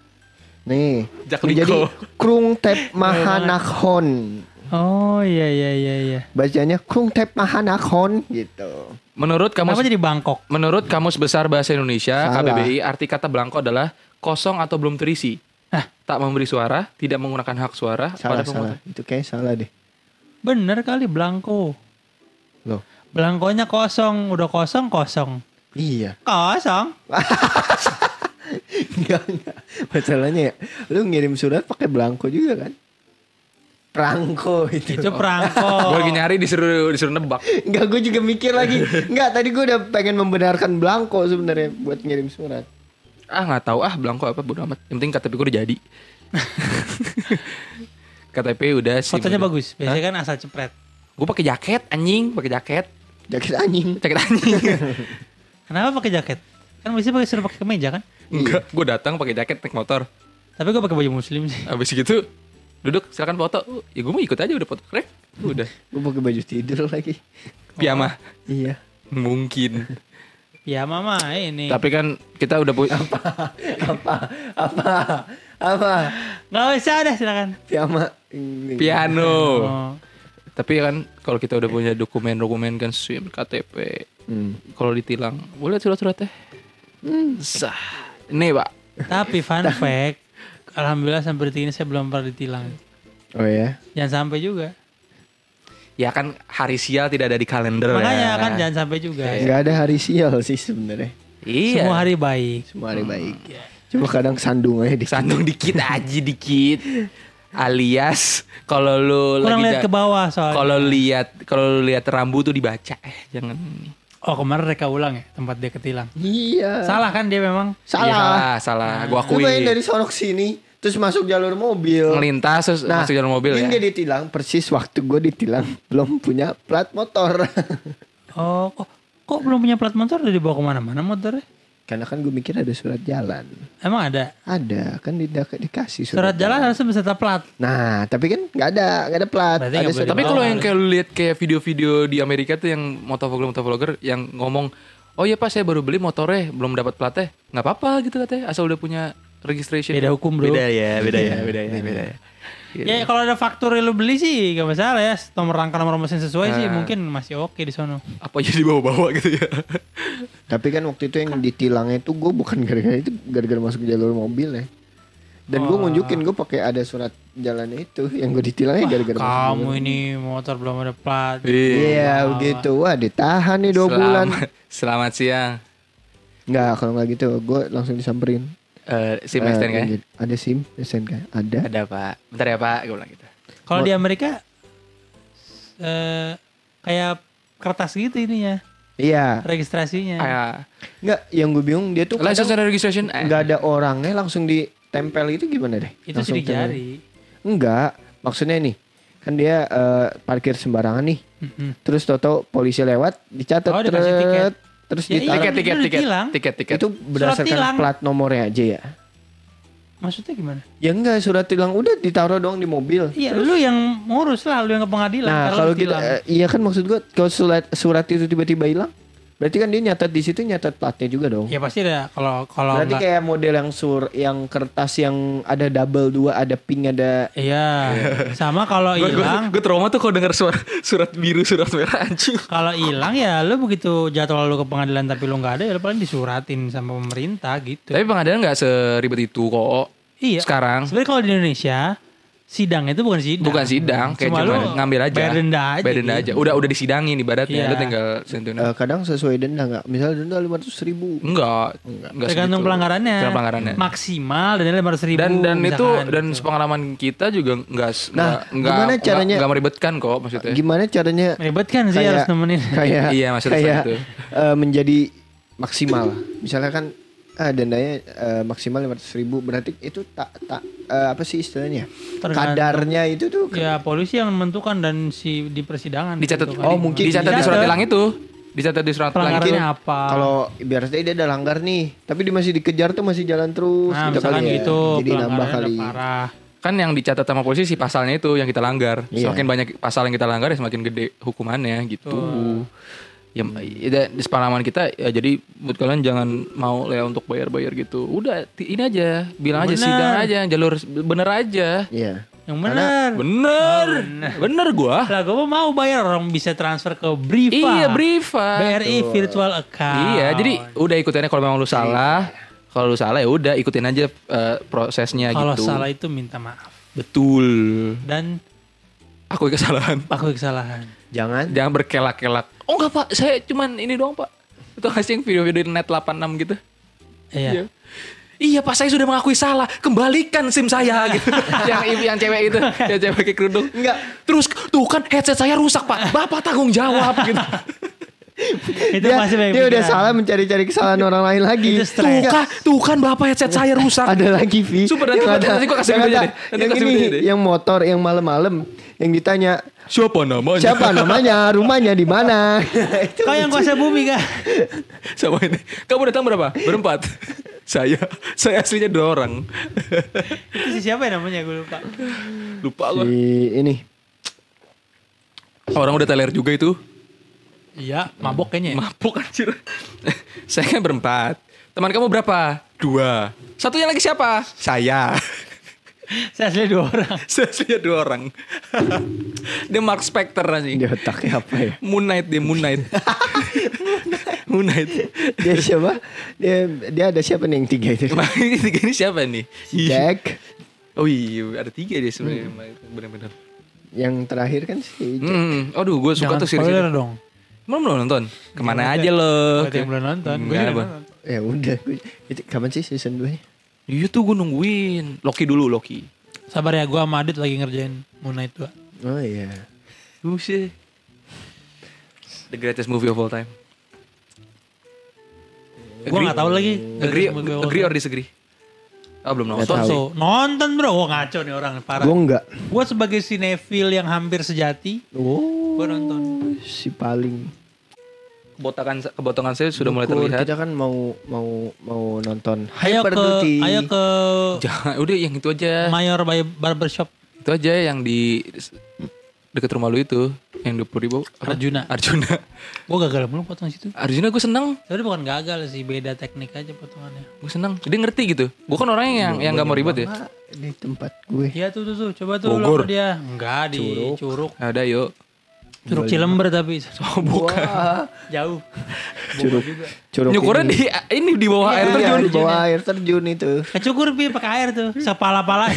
Speaker 3: Nih.
Speaker 1: Jak
Speaker 3: Jadi
Speaker 1: Liko.
Speaker 3: Krung Tep Mahanakhon.
Speaker 2: Oh iya iya iya iya.
Speaker 3: Bacanya Kung Tep Mahanakon gitu.
Speaker 1: Menurut kamus
Speaker 2: Kenapa jadi Bangkok?
Speaker 1: menurut kamus besar bahasa Indonesia
Speaker 3: Salah.
Speaker 1: KBBI arti kata belangko adalah kosong atau belum terisi. tak memberi suara, tidak menggunakan hak suara
Speaker 3: Salah
Speaker 1: pada pemohon.
Speaker 3: salah. Itu kayak salah deh.
Speaker 2: Bener kali Blanko.
Speaker 3: Loh.
Speaker 2: Blankonya kosong, udah kosong kosong.
Speaker 3: Iya.
Speaker 2: Kosong.
Speaker 3: Enggak enggak. Masalahnya ya, lu ngirim surat pakai belangko juga kan? Prangko itu.
Speaker 2: Itu Prangko.
Speaker 1: Gue lagi nyari disuruh disuruh nebak.
Speaker 3: Enggak, gue juga mikir lagi. Enggak, tadi gue udah pengen membenarkan belangko sebenarnya buat ngirim surat.
Speaker 1: Ah nggak tahu ah belangko apa bodo amat. Yang penting KTP gue udah jadi. KTP udah sih.
Speaker 2: Fotonya bagus. Biasanya kan asal cepret.
Speaker 1: Gue pakai jaket anjing, pakai jaket,
Speaker 3: Jaket anjing.
Speaker 1: jaket anjing.
Speaker 2: Kenapa pakai jaket? Kan biasanya pakai suruh pakai kemeja kan?
Speaker 1: Enggak, gue datang pakai jaket naik motor.
Speaker 2: Tapi gue pakai baju muslim sih.
Speaker 1: Habis gitu duduk silakan foto. Uh, Ya gue mau ikut aja udah foto krek. Udah.
Speaker 3: Gue pakai baju tidur lagi.
Speaker 2: Oh.
Speaker 1: Piyama.
Speaker 3: Iya.
Speaker 1: Mungkin.
Speaker 2: Ya mama ini.
Speaker 1: Tapi kan kita udah punya
Speaker 3: apa? Apa? Apa?
Speaker 2: Nggak usah deh silakan.
Speaker 3: Piyama. Ini.
Speaker 1: piano.
Speaker 2: Oh.
Speaker 1: Tapi kan kalau kita udah punya dokumen-dokumen kan SIM, KTP.
Speaker 3: Hmm.
Speaker 1: Kalau ditilang, boleh surat-suratnya.
Speaker 2: Hmm.
Speaker 1: Sah. Nih, Pak.
Speaker 2: Tapi fun fact, alhamdulillah sampai detik ini saya belum pernah ditilang.
Speaker 3: Oh ya.
Speaker 2: Jangan sampai juga.
Speaker 1: Ya kan hari sial tidak ada di kalender. ya.
Speaker 2: Makanya kan jangan sampai juga.
Speaker 3: Enggak ada hari sial sih sebenarnya.
Speaker 1: Iya.
Speaker 2: Semua hari baik.
Speaker 3: Semua
Speaker 1: Hmm.
Speaker 3: hari baik. Cuma kadang sandung aja di
Speaker 1: sandung dikit aja dikit. Alias kalau lu lagi
Speaker 2: Kurang lihat
Speaker 1: ja-
Speaker 2: ke bawah soalnya.
Speaker 1: Kalau lu lihat kalau lu lihat rambu tuh dibaca eh jangan.
Speaker 2: Oh kemarin mereka ulang ya tempat dia ketilang.
Speaker 3: Iya.
Speaker 2: Salah kan dia memang.
Speaker 3: Salah.
Speaker 1: Iya, salah. Gua
Speaker 3: Gue
Speaker 1: akui.
Speaker 3: main dari sorok sini terus masuk jalur mobil. Nah,
Speaker 1: Ngelintas terus
Speaker 2: Nah,
Speaker 1: masuk jalan mobil
Speaker 3: ini
Speaker 1: ya.
Speaker 3: dia ditilang persis waktu gue ditilang belum punya plat motor.
Speaker 2: Oh kok, kok belum punya plat motor udah dibawa kemana-mana motornya?
Speaker 3: Karena kan gue mikir ada surat jalan.
Speaker 2: Emang ada?
Speaker 3: Ada kan di dikasih
Speaker 2: Surat
Speaker 3: surat.
Speaker 2: jalan harusnya beserta plat.
Speaker 3: Nah tapi kan nggak ada nggak ada plat.
Speaker 2: Berarti
Speaker 3: Ada
Speaker 2: nggak boleh
Speaker 1: Iya, Tapi kalau
Speaker 2: Oh,
Speaker 1: yang kayak lu lihat kayak video-video di Amerika tuh yang motovlogger motovlogger yang ngomong, "Oh iya Pak, saya baru beli motornya, belum dapat platnya." nggak apa-apa gitu katanya, asal udah punya registration.
Speaker 2: Beda hukum, Bro.
Speaker 1: Beda ya, beda ya, beda ya, beda ya. Gitu.
Speaker 2: Ya kalau ada faktur yang lu beli sih gak masalah ya. Nomor rangka nomor mesin sesuai sih
Speaker 3: Ah.
Speaker 1: Nah.
Speaker 2: mungkin masih oke di sono.
Speaker 1: Apa jadi bawa-bawa gitu ya.
Speaker 3: Tapi kan waktu itu yang ditilangnya itu gue bukan gara-gara itu gara-gara masuk jalur mobil ya. Dan
Speaker 2: Oh.
Speaker 3: gue nunjukin gue pakai ada surat jalan itu yang gue ditilangnya gara-gara masuk
Speaker 2: Kamu
Speaker 3: jalur.
Speaker 2: ini motor belum ada plat.
Speaker 3: Iya begitu. Wah ditahan nih dua bulan.
Speaker 1: Selamat, selamat siang.
Speaker 3: Nggak kalau nggak gitu gue langsung disamperin.
Speaker 1: Eh SIM
Speaker 3: Eh,
Speaker 1: STNK
Speaker 2: kan?
Speaker 1: ya?
Speaker 3: lanjut. Ada sim STNK kan? ada.
Speaker 1: Ada Pak. Bentar ya Pak, gue bilang gitu.
Speaker 2: Kalau di Amerika eh kayak kertas gitu ininya
Speaker 3: Iya. ya.
Speaker 2: registrasinya.
Speaker 1: Ah,
Speaker 3: Nggak yang gue bingung dia tuh
Speaker 1: license
Speaker 3: kadang
Speaker 1: and registration. eh.
Speaker 3: nggak ada orangnya langsung ditempel itu gimana deh?
Speaker 2: Itu
Speaker 3: Langsung
Speaker 2: sidik
Speaker 3: tempel.
Speaker 2: jari.
Speaker 3: Enggak, maksudnya nih kan dia eh, parkir sembarangan nih.
Speaker 2: Mhm.
Speaker 3: Terus toto polisi lewat dicatat
Speaker 2: Oh, dikasih
Speaker 3: tret,
Speaker 2: tiket.
Speaker 3: terus
Speaker 2: Ya, iya,
Speaker 3: ditaruh.
Speaker 1: Tiket,
Speaker 2: Itu
Speaker 1: tiket,
Speaker 2: udah
Speaker 1: tiket,
Speaker 2: ditilang.
Speaker 1: tiket, tiket.
Speaker 3: Itu berdasarkan
Speaker 2: tilang.
Speaker 3: plat nomornya aja ya.
Speaker 2: Maksudnya gimana?
Speaker 3: Ya enggak surat tilang udah ditaruh doang di mobil.
Speaker 2: Iya, lu yang ngurus lah, lu yang ke pengadilan.
Speaker 3: Nah,
Speaker 2: ntar lu
Speaker 3: kalau kita
Speaker 2: tilang.
Speaker 3: eh, iya kan maksud gua kalau surat surat itu tiba-tiba hilang, berarti kan dia nyatat di situ nyatat platnya juga dong.
Speaker 2: ya pasti ada kalau kalau
Speaker 3: berarti
Speaker 2: nggak-
Speaker 3: kayak model yang sur yang kertas yang ada double dua, ada pink, ada
Speaker 2: Iya, sama kalau
Speaker 1: Gue
Speaker 2: hilang,
Speaker 1: gue trauma tuh kalau denger suara surat biru surat merah anjing.
Speaker 2: kalau hilang ya lu begitu jadwal lu ke pengadilan tapi lu nggak ada, ya lu paling disuratin sama pemerintah gitu.
Speaker 1: Tapi pengadilan nggak seribet itu kok.
Speaker 2: Iya.
Speaker 1: Sekarang
Speaker 2: Sebenarnya kalau di Indonesia sidang itu bukan sidang.
Speaker 1: bukan sidang, kayak cuma,
Speaker 2: Cuma lu
Speaker 1: ngambil aja.
Speaker 2: bayar denda aja
Speaker 1: Bayar denda
Speaker 2: gitu.
Speaker 1: aja. Udah udah disidangin ibaratnya.
Speaker 2: Iya.
Speaker 1: Lu tinggal tentuin.
Speaker 3: eh, kadang sesuai denda nggak? Misalnya denda lima ratus ribu.
Speaker 2: Iya,
Speaker 1: enggak, enggak
Speaker 2: Tergantung
Speaker 1: segitu.
Speaker 2: pelanggarannya.
Speaker 1: Tergantung pelanggarannya.
Speaker 2: Maksimal dan lima ratus ribu.
Speaker 1: Dan dan itu
Speaker 2: misalkan,
Speaker 1: dan
Speaker 2: gitu.
Speaker 1: sepengalaman kita juga enggak
Speaker 3: Nah,
Speaker 1: enggak
Speaker 3: gimana caranya-
Speaker 1: enggak meribetkan kok maksudnya.
Speaker 3: Gimana caranya
Speaker 2: ribet kan sih
Speaker 3: Kayak-
Speaker 2: harus nemenin.
Speaker 3: kayak
Speaker 1: Iya, maksudnya
Speaker 3: kayak
Speaker 1: seperti itu.
Speaker 3: eh, menjadi maksimal? Misalnya kan eh, dendanya eh, maksimal lima ratus ribu, berarti itu tak tak eh, apa sih istilahnya?
Speaker 2: Tergantung.
Speaker 3: Kadarnya itu tuh ke-
Speaker 2: Ya polisi yang menentukan dan si di persidangan.
Speaker 1: Dicatat
Speaker 2: gitu kan.
Speaker 3: Oh, mungkin
Speaker 1: dicatat di surat
Speaker 2: Dicatat.
Speaker 1: tilang itu. Dicatat di surat tilang itu.
Speaker 2: pelanggarannya apa? Nah,
Speaker 3: Kalau biasanya dia ada langgar nih, tapi dia masih dikejar tuh masih jalan terus.
Speaker 2: nah,
Speaker 3: gitu
Speaker 2: misalkan
Speaker 3: kali ya.
Speaker 2: gitu,
Speaker 3: Jadi nambah
Speaker 2: pelanggarannya
Speaker 3: kali.
Speaker 2: udah parah.
Speaker 1: Kan yang dicatat sama polisi si pasalnya itu yang kita langgar.
Speaker 3: Iya.
Speaker 1: Semakin banyak pasal yang kita langgar ya semakin gede hukumannya gitu. Ya, ya, di pengalaman kita ya, jadi buat kalian jangan mau lah ya untuk bayar-bayar gitu. Udah ti- ini aja, bilang aja
Speaker 2: Bener.
Speaker 1: sidang aja, jalur bener aja.
Speaker 3: Iya.
Speaker 2: Yang benar. Oh,
Speaker 1: Bener, bener gua.
Speaker 2: Lah gue mau bayar orang bisa transfer ke Briva.
Speaker 1: Iya, Briva.
Speaker 2: BRI Virtual Account.
Speaker 1: Iya, jadi udah ikutinnya kalau memang lu
Speaker 2: Iya.
Speaker 1: salah, kalau lu salah ya udah ikutin aja eh, prosesnya
Speaker 2: kalau
Speaker 1: gitu.
Speaker 2: salah itu minta maaf
Speaker 1: Betul.
Speaker 2: dan
Speaker 1: Aku kesalahan.
Speaker 2: aku kesalahan.
Speaker 3: Jangan.
Speaker 1: Jangan berkelak-kelak. Oh enggak pak, saya cuman ini doang pak. Itu nggak sih yang video-video di net 86 gitu.
Speaker 3: Ya.
Speaker 1: Iya.
Speaker 2: Iya.
Speaker 1: Iya pak, saya sudah mengakui salah. Kembalikan SIM saya gitu. yang ibu yang cewek itu, yang cewek pakai kerudung.
Speaker 3: Enggak.
Speaker 1: Terus tuh kan headset saya rusak pak. Bapak tanggung jawab gitu.
Speaker 2: itu
Speaker 3: dia,
Speaker 2: masih banyak
Speaker 3: dia udah
Speaker 2: pikiran.
Speaker 3: salah mencari-cari kesalahan orang lain lagi.
Speaker 2: Itu
Speaker 1: tuh
Speaker 2: stres.
Speaker 1: kan, tuh kan bapak headset saya rusak.
Speaker 3: Ada lagi Vi.
Speaker 1: Super, nanti
Speaker 3: Yang
Speaker 1: gua-
Speaker 3: ada-
Speaker 1: nanti gua kasih
Speaker 3: yang
Speaker 1: videonya
Speaker 3: ada-
Speaker 1: deh. Nanti
Speaker 3: Yang
Speaker 1: kasih
Speaker 3: ini,
Speaker 1: videonya deh.
Speaker 3: yang motor, yang malam-malam, yang ditanya
Speaker 1: Siapa namanya?
Speaker 3: siapa namanya, rumahnya di mana.
Speaker 2: Kau yang kuasa bumi kah?
Speaker 1: Sama ini. Kamu datang berapa? Berempat. saya, saya aslinya dua orang.
Speaker 2: itu si siapa ya namanya gue lupa.
Speaker 1: Lupa gua.
Speaker 3: si ini
Speaker 1: Orang udah teler juga itu.
Speaker 2: Iya, mabok kayaknya. ya.
Speaker 1: Mabuk anjir. saya kan berempat. Teman kamu berapa? Dua. Satunya lagi siapa? Saya.
Speaker 2: Saya asli dua orang.
Speaker 1: saya aslinya dua orang. dia Mark Spector anjing.
Speaker 3: di otaknya apa ya?
Speaker 1: Moon Knight dia, Moon Knight. Moon Knight.
Speaker 3: Dia siapa? Dia dia ada siapa nih yang tiga itu?
Speaker 1: Ini tiga ini siapa nih?
Speaker 3: Jack.
Speaker 1: Oh iya, ada tiga dia
Speaker 2: Hmm.
Speaker 1: sebenarnya. Benar-benar.
Speaker 3: Yang terakhir kan si Jack.
Speaker 1: Hmm, aduh gue suka
Speaker 2: Jangan
Speaker 1: tuh series
Speaker 2: spoiler
Speaker 1: itu.
Speaker 2: dong.
Speaker 1: Emang belum nonton? Kemana aja lo?
Speaker 2: Buat yang belum nonton, gue
Speaker 1: Enggak,
Speaker 2: juga
Speaker 1: Bang.
Speaker 2: nonton.
Speaker 3: Ya udah. Gua- Itu kapan sih season 2 nya?
Speaker 1: Iya tuh gue nungguin. Loki dulu, Loki.
Speaker 2: Sabar ya, gue sama Adit lagi ngerjain Moon Knight 2.
Speaker 3: Oh iya.
Speaker 1: Buset. Oh, The greatest movie of all time.
Speaker 2: Gue gak tau lagi.
Speaker 1: Agree,
Speaker 2: Ngerjain movie
Speaker 1: agree or
Speaker 2: apa.
Speaker 1: disagree? Ah belum
Speaker 3: Nggak
Speaker 1: nonton.
Speaker 3: tahu.
Speaker 2: So, nonton bro. Wah ngaco nih orang. Parah.
Speaker 3: Gue enggak.
Speaker 2: Gue sebagai sinetfil yang hampir sejati.
Speaker 3: Oh.
Speaker 2: Gue nonton.
Speaker 3: Si paling.
Speaker 1: Kebotakan, kebotongan saya sudah mulai
Speaker 3: Kur,
Speaker 1: terlihat.
Speaker 3: Kita kan mau mau mau nonton
Speaker 2: Ayo ke,
Speaker 3: Hyperduty.
Speaker 2: ayo ke
Speaker 1: Jangan, udah yang itu aja.
Speaker 2: Mayor by Barbershop
Speaker 1: Itu aja yang di deket rumah lu itu. Yang 20 ribu.
Speaker 2: Arjuna.
Speaker 1: Arjuna.
Speaker 2: Gue gagal mulu potong situ.
Speaker 1: Arjuna gue seneng.
Speaker 2: Tapi bukan gagal sih, beda teknik aja potongannya.
Speaker 1: Gue seneng. Dia ngerti gitu. Gue kan orangnya yang yang gak mau ribet ya.
Speaker 3: Ah, Di tempat gue.
Speaker 2: Iya tuh tuh tuh, coba tuh
Speaker 1: Bogor.
Speaker 2: lo dia. Enggak di Curug. Curug,
Speaker 1: Ada yuk.
Speaker 2: Cilember tapi Oh,
Speaker 3: Wah.
Speaker 2: jauh.
Speaker 3: Curug. Curug
Speaker 1: Nyukurnya
Speaker 3: ini.
Speaker 1: di ini di bawah air
Speaker 3: Iya,
Speaker 1: terjun.
Speaker 3: di bawah air terjun itu.
Speaker 2: Kecukur Eh, pi pakai air tuh, sepala-pala.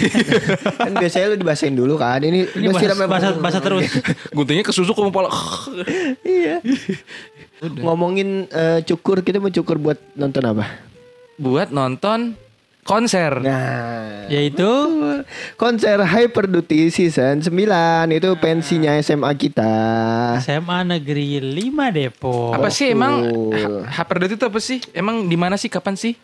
Speaker 3: kan biasanya lu dibasahin dulu kan. Ini,
Speaker 2: Ini basah,
Speaker 3: gua siram emang.
Speaker 2: basah, basah terus.
Speaker 1: Guntingnya kesusuk ke kepala.
Speaker 3: Iya. Ngomongin eh, cukur, kita mau cukur buat nonton apa?
Speaker 1: Buat nonton konser.
Speaker 3: Nah,
Speaker 2: Yaitu
Speaker 3: konser Hyperduty season 9 itu pensinya SMA kita.
Speaker 2: SMA Negeri 5 Depok.
Speaker 1: Apa sih emang ha-
Speaker 3: Betul.
Speaker 1: Hyperduty itu apa sih? Emang di mana sih? Kapan sih?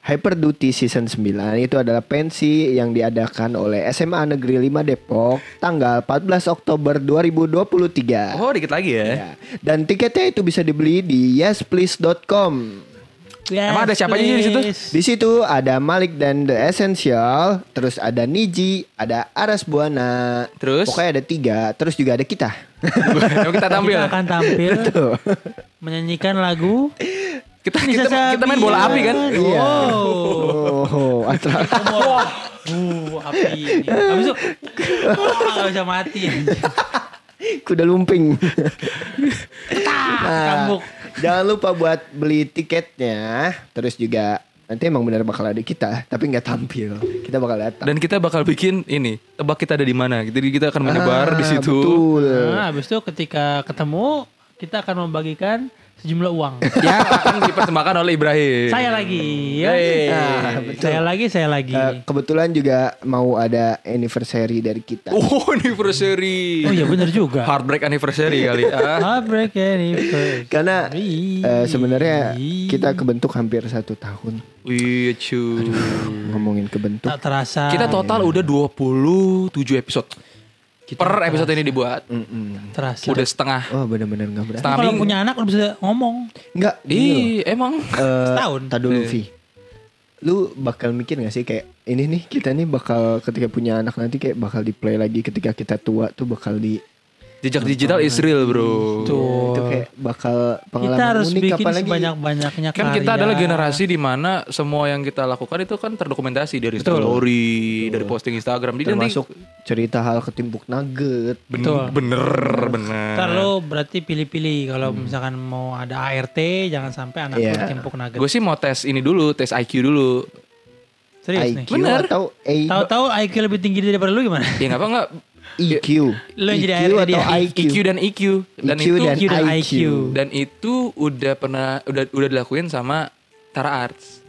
Speaker 3: Hyperduty season 9 itu adalah pensi yang diadakan oleh SMA Negeri 5 Depok tanggal 14 Oktober 2023.
Speaker 1: Oh, dikit lagi ya.
Speaker 3: Ya. Dan tiketnya itu bisa dibeli di yesplease.com.
Speaker 2: Yes,
Speaker 1: Emang ada siapa aja di situ?
Speaker 2: please.
Speaker 3: Di situ ada Malik dan The Essential, terus ada Niji, ada Aras Buana,
Speaker 1: Terus?
Speaker 3: pokoknya ada tiga, terus juga ada kita.
Speaker 1: Emang Iya. kita tampil.
Speaker 2: Kita akan tampil
Speaker 3: Tuh.
Speaker 2: menyanyikan lagu
Speaker 1: Kita
Speaker 2: Nisa
Speaker 1: kita, kita main bola api kan?
Speaker 2: Sabian.
Speaker 3: Iya.
Speaker 2: Wow.
Speaker 3: Oh, atra-
Speaker 2: Wah, uh, api. ini. Habis itu, wah, gak bisa mati.
Speaker 3: kuda lumping. Nah,
Speaker 2: Kambuk.
Speaker 3: jangan lupa buat beli tiketnya, terus juga nanti emang benar bakal ada kita, tapi nggak tampil. Kita bakal datang.
Speaker 1: Dan kita bakal bikin ini, tebak kita ada di mana. Jadi kita akan menebar
Speaker 3: Ah,
Speaker 1: di situ.
Speaker 3: Betul.
Speaker 2: Nah, habis itu ketika ketemu, kita akan membagikan sejumlah uang.
Speaker 1: Yang Ya, akan dipersembahkan oleh Ibrahim.
Speaker 2: Saya lagi, ya.
Speaker 3: Nah, betul.
Speaker 2: Saya lagi, saya lagi.
Speaker 3: Eh,
Speaker 1: Nah.
Speaker 3: kebetulan juga mau ada anniversary dari kita.
Speaker 1: Oh, anniversary.
Speaker 2: Oh iya benar Iya. juga.
Speaker 1: Heartbreak anniversary kali. Ah.
Speaker 2: Heartbreak anniversary.
Speaker 3: Karena eh, sebenarnya kita kebentuk hampir satu tahun
Speaker 1: Wih, cu.
Speaker 3: ngomongin kebentuk.
Speaker 2: tak terasa.
Speaker 1: iya, Kita total udah 27 episode. per episode ini dibuat.
Speaker 2: terasa.
Speaker 1: Udah setengah.
Speaker 3: Oh benar-benar nggak berani.
Speaker 1: Setengah
Speaker 2: Kalau Iya.
Speaker 1: minggu.
Speaker 2: punya anak udah bisa ngomong
Speaker 3: Nggak. gini loh.
Speaker 1: Ih, emang.
Speaker 3: Eh,
Speaker 2: setahun. Hmm.
Speaker 3: tar dulu Vi. Lu bakal mikir gak sih kayak ini nih kita nih bakal ketika punya anak nanti kayak bakal di play lagi ketika kita tua tuh bakal di
Speaker 1: Jejak digital is real, bro.
Speaker 2: Betul.
Speaker 3: Itu kayak bakal pengalaman
Speaker 2: kita harus
Speaker 3: unik
Speaker 2: bikin
Speaker 3: apalagi
Speaker 2: sebanyak-banyaknya
Speaker 1: Kan kita
Speaker 2: karya.
Speaker 1: adalah generasi di mana semua yang kita lakukan itu kan terdokumentasi dari
Speaker 2: Betul.
Speaker 1: story, dari posting Instagram. Jadi nanti
Speaker 3: termasuk cerita hal ketimbuk nugget.
Speaker 1: ben-
Speaker 2: Betul.
Speaker 1: bener bener.
Speaker 2: Ntar lo berarti pilih-pilih kalau
Speaker 1: Hmm.
Speaker 2: misalkan mau ada ART jangan sampai anak
Speaker 3: Iya.
Speaker 2: lo timpuk nugget.
Speaker 1: Gue sih mau tes ini dulu, tes IQ dulu.
Speaker 2: Serius nih.
Speaker 3: IQ
Speaker 1: Bener.
Speaker 3: atau A
Speaker 2: Tahu-tahu IQ lebih tinggi daripada lu gimana?
Speaker 1: Ya nggak apa nggak
Speaker 3: EQ.
Speaker 2: Lo yang jadi akhirnya
Speaker 3: EQ E atau
Speaker 2: dia
Speaker 3: IQ.
Speaker 1: IQ dan EQ dan
Speaker 3: EQ
Speaker 1: itu
Speaker 3: dan
Speaker 2: IQ dan
Speaker 3: IQ.
Speaker 1: Hmm. dan itu udah pernah udah udah dilakuin sama Tara Arts.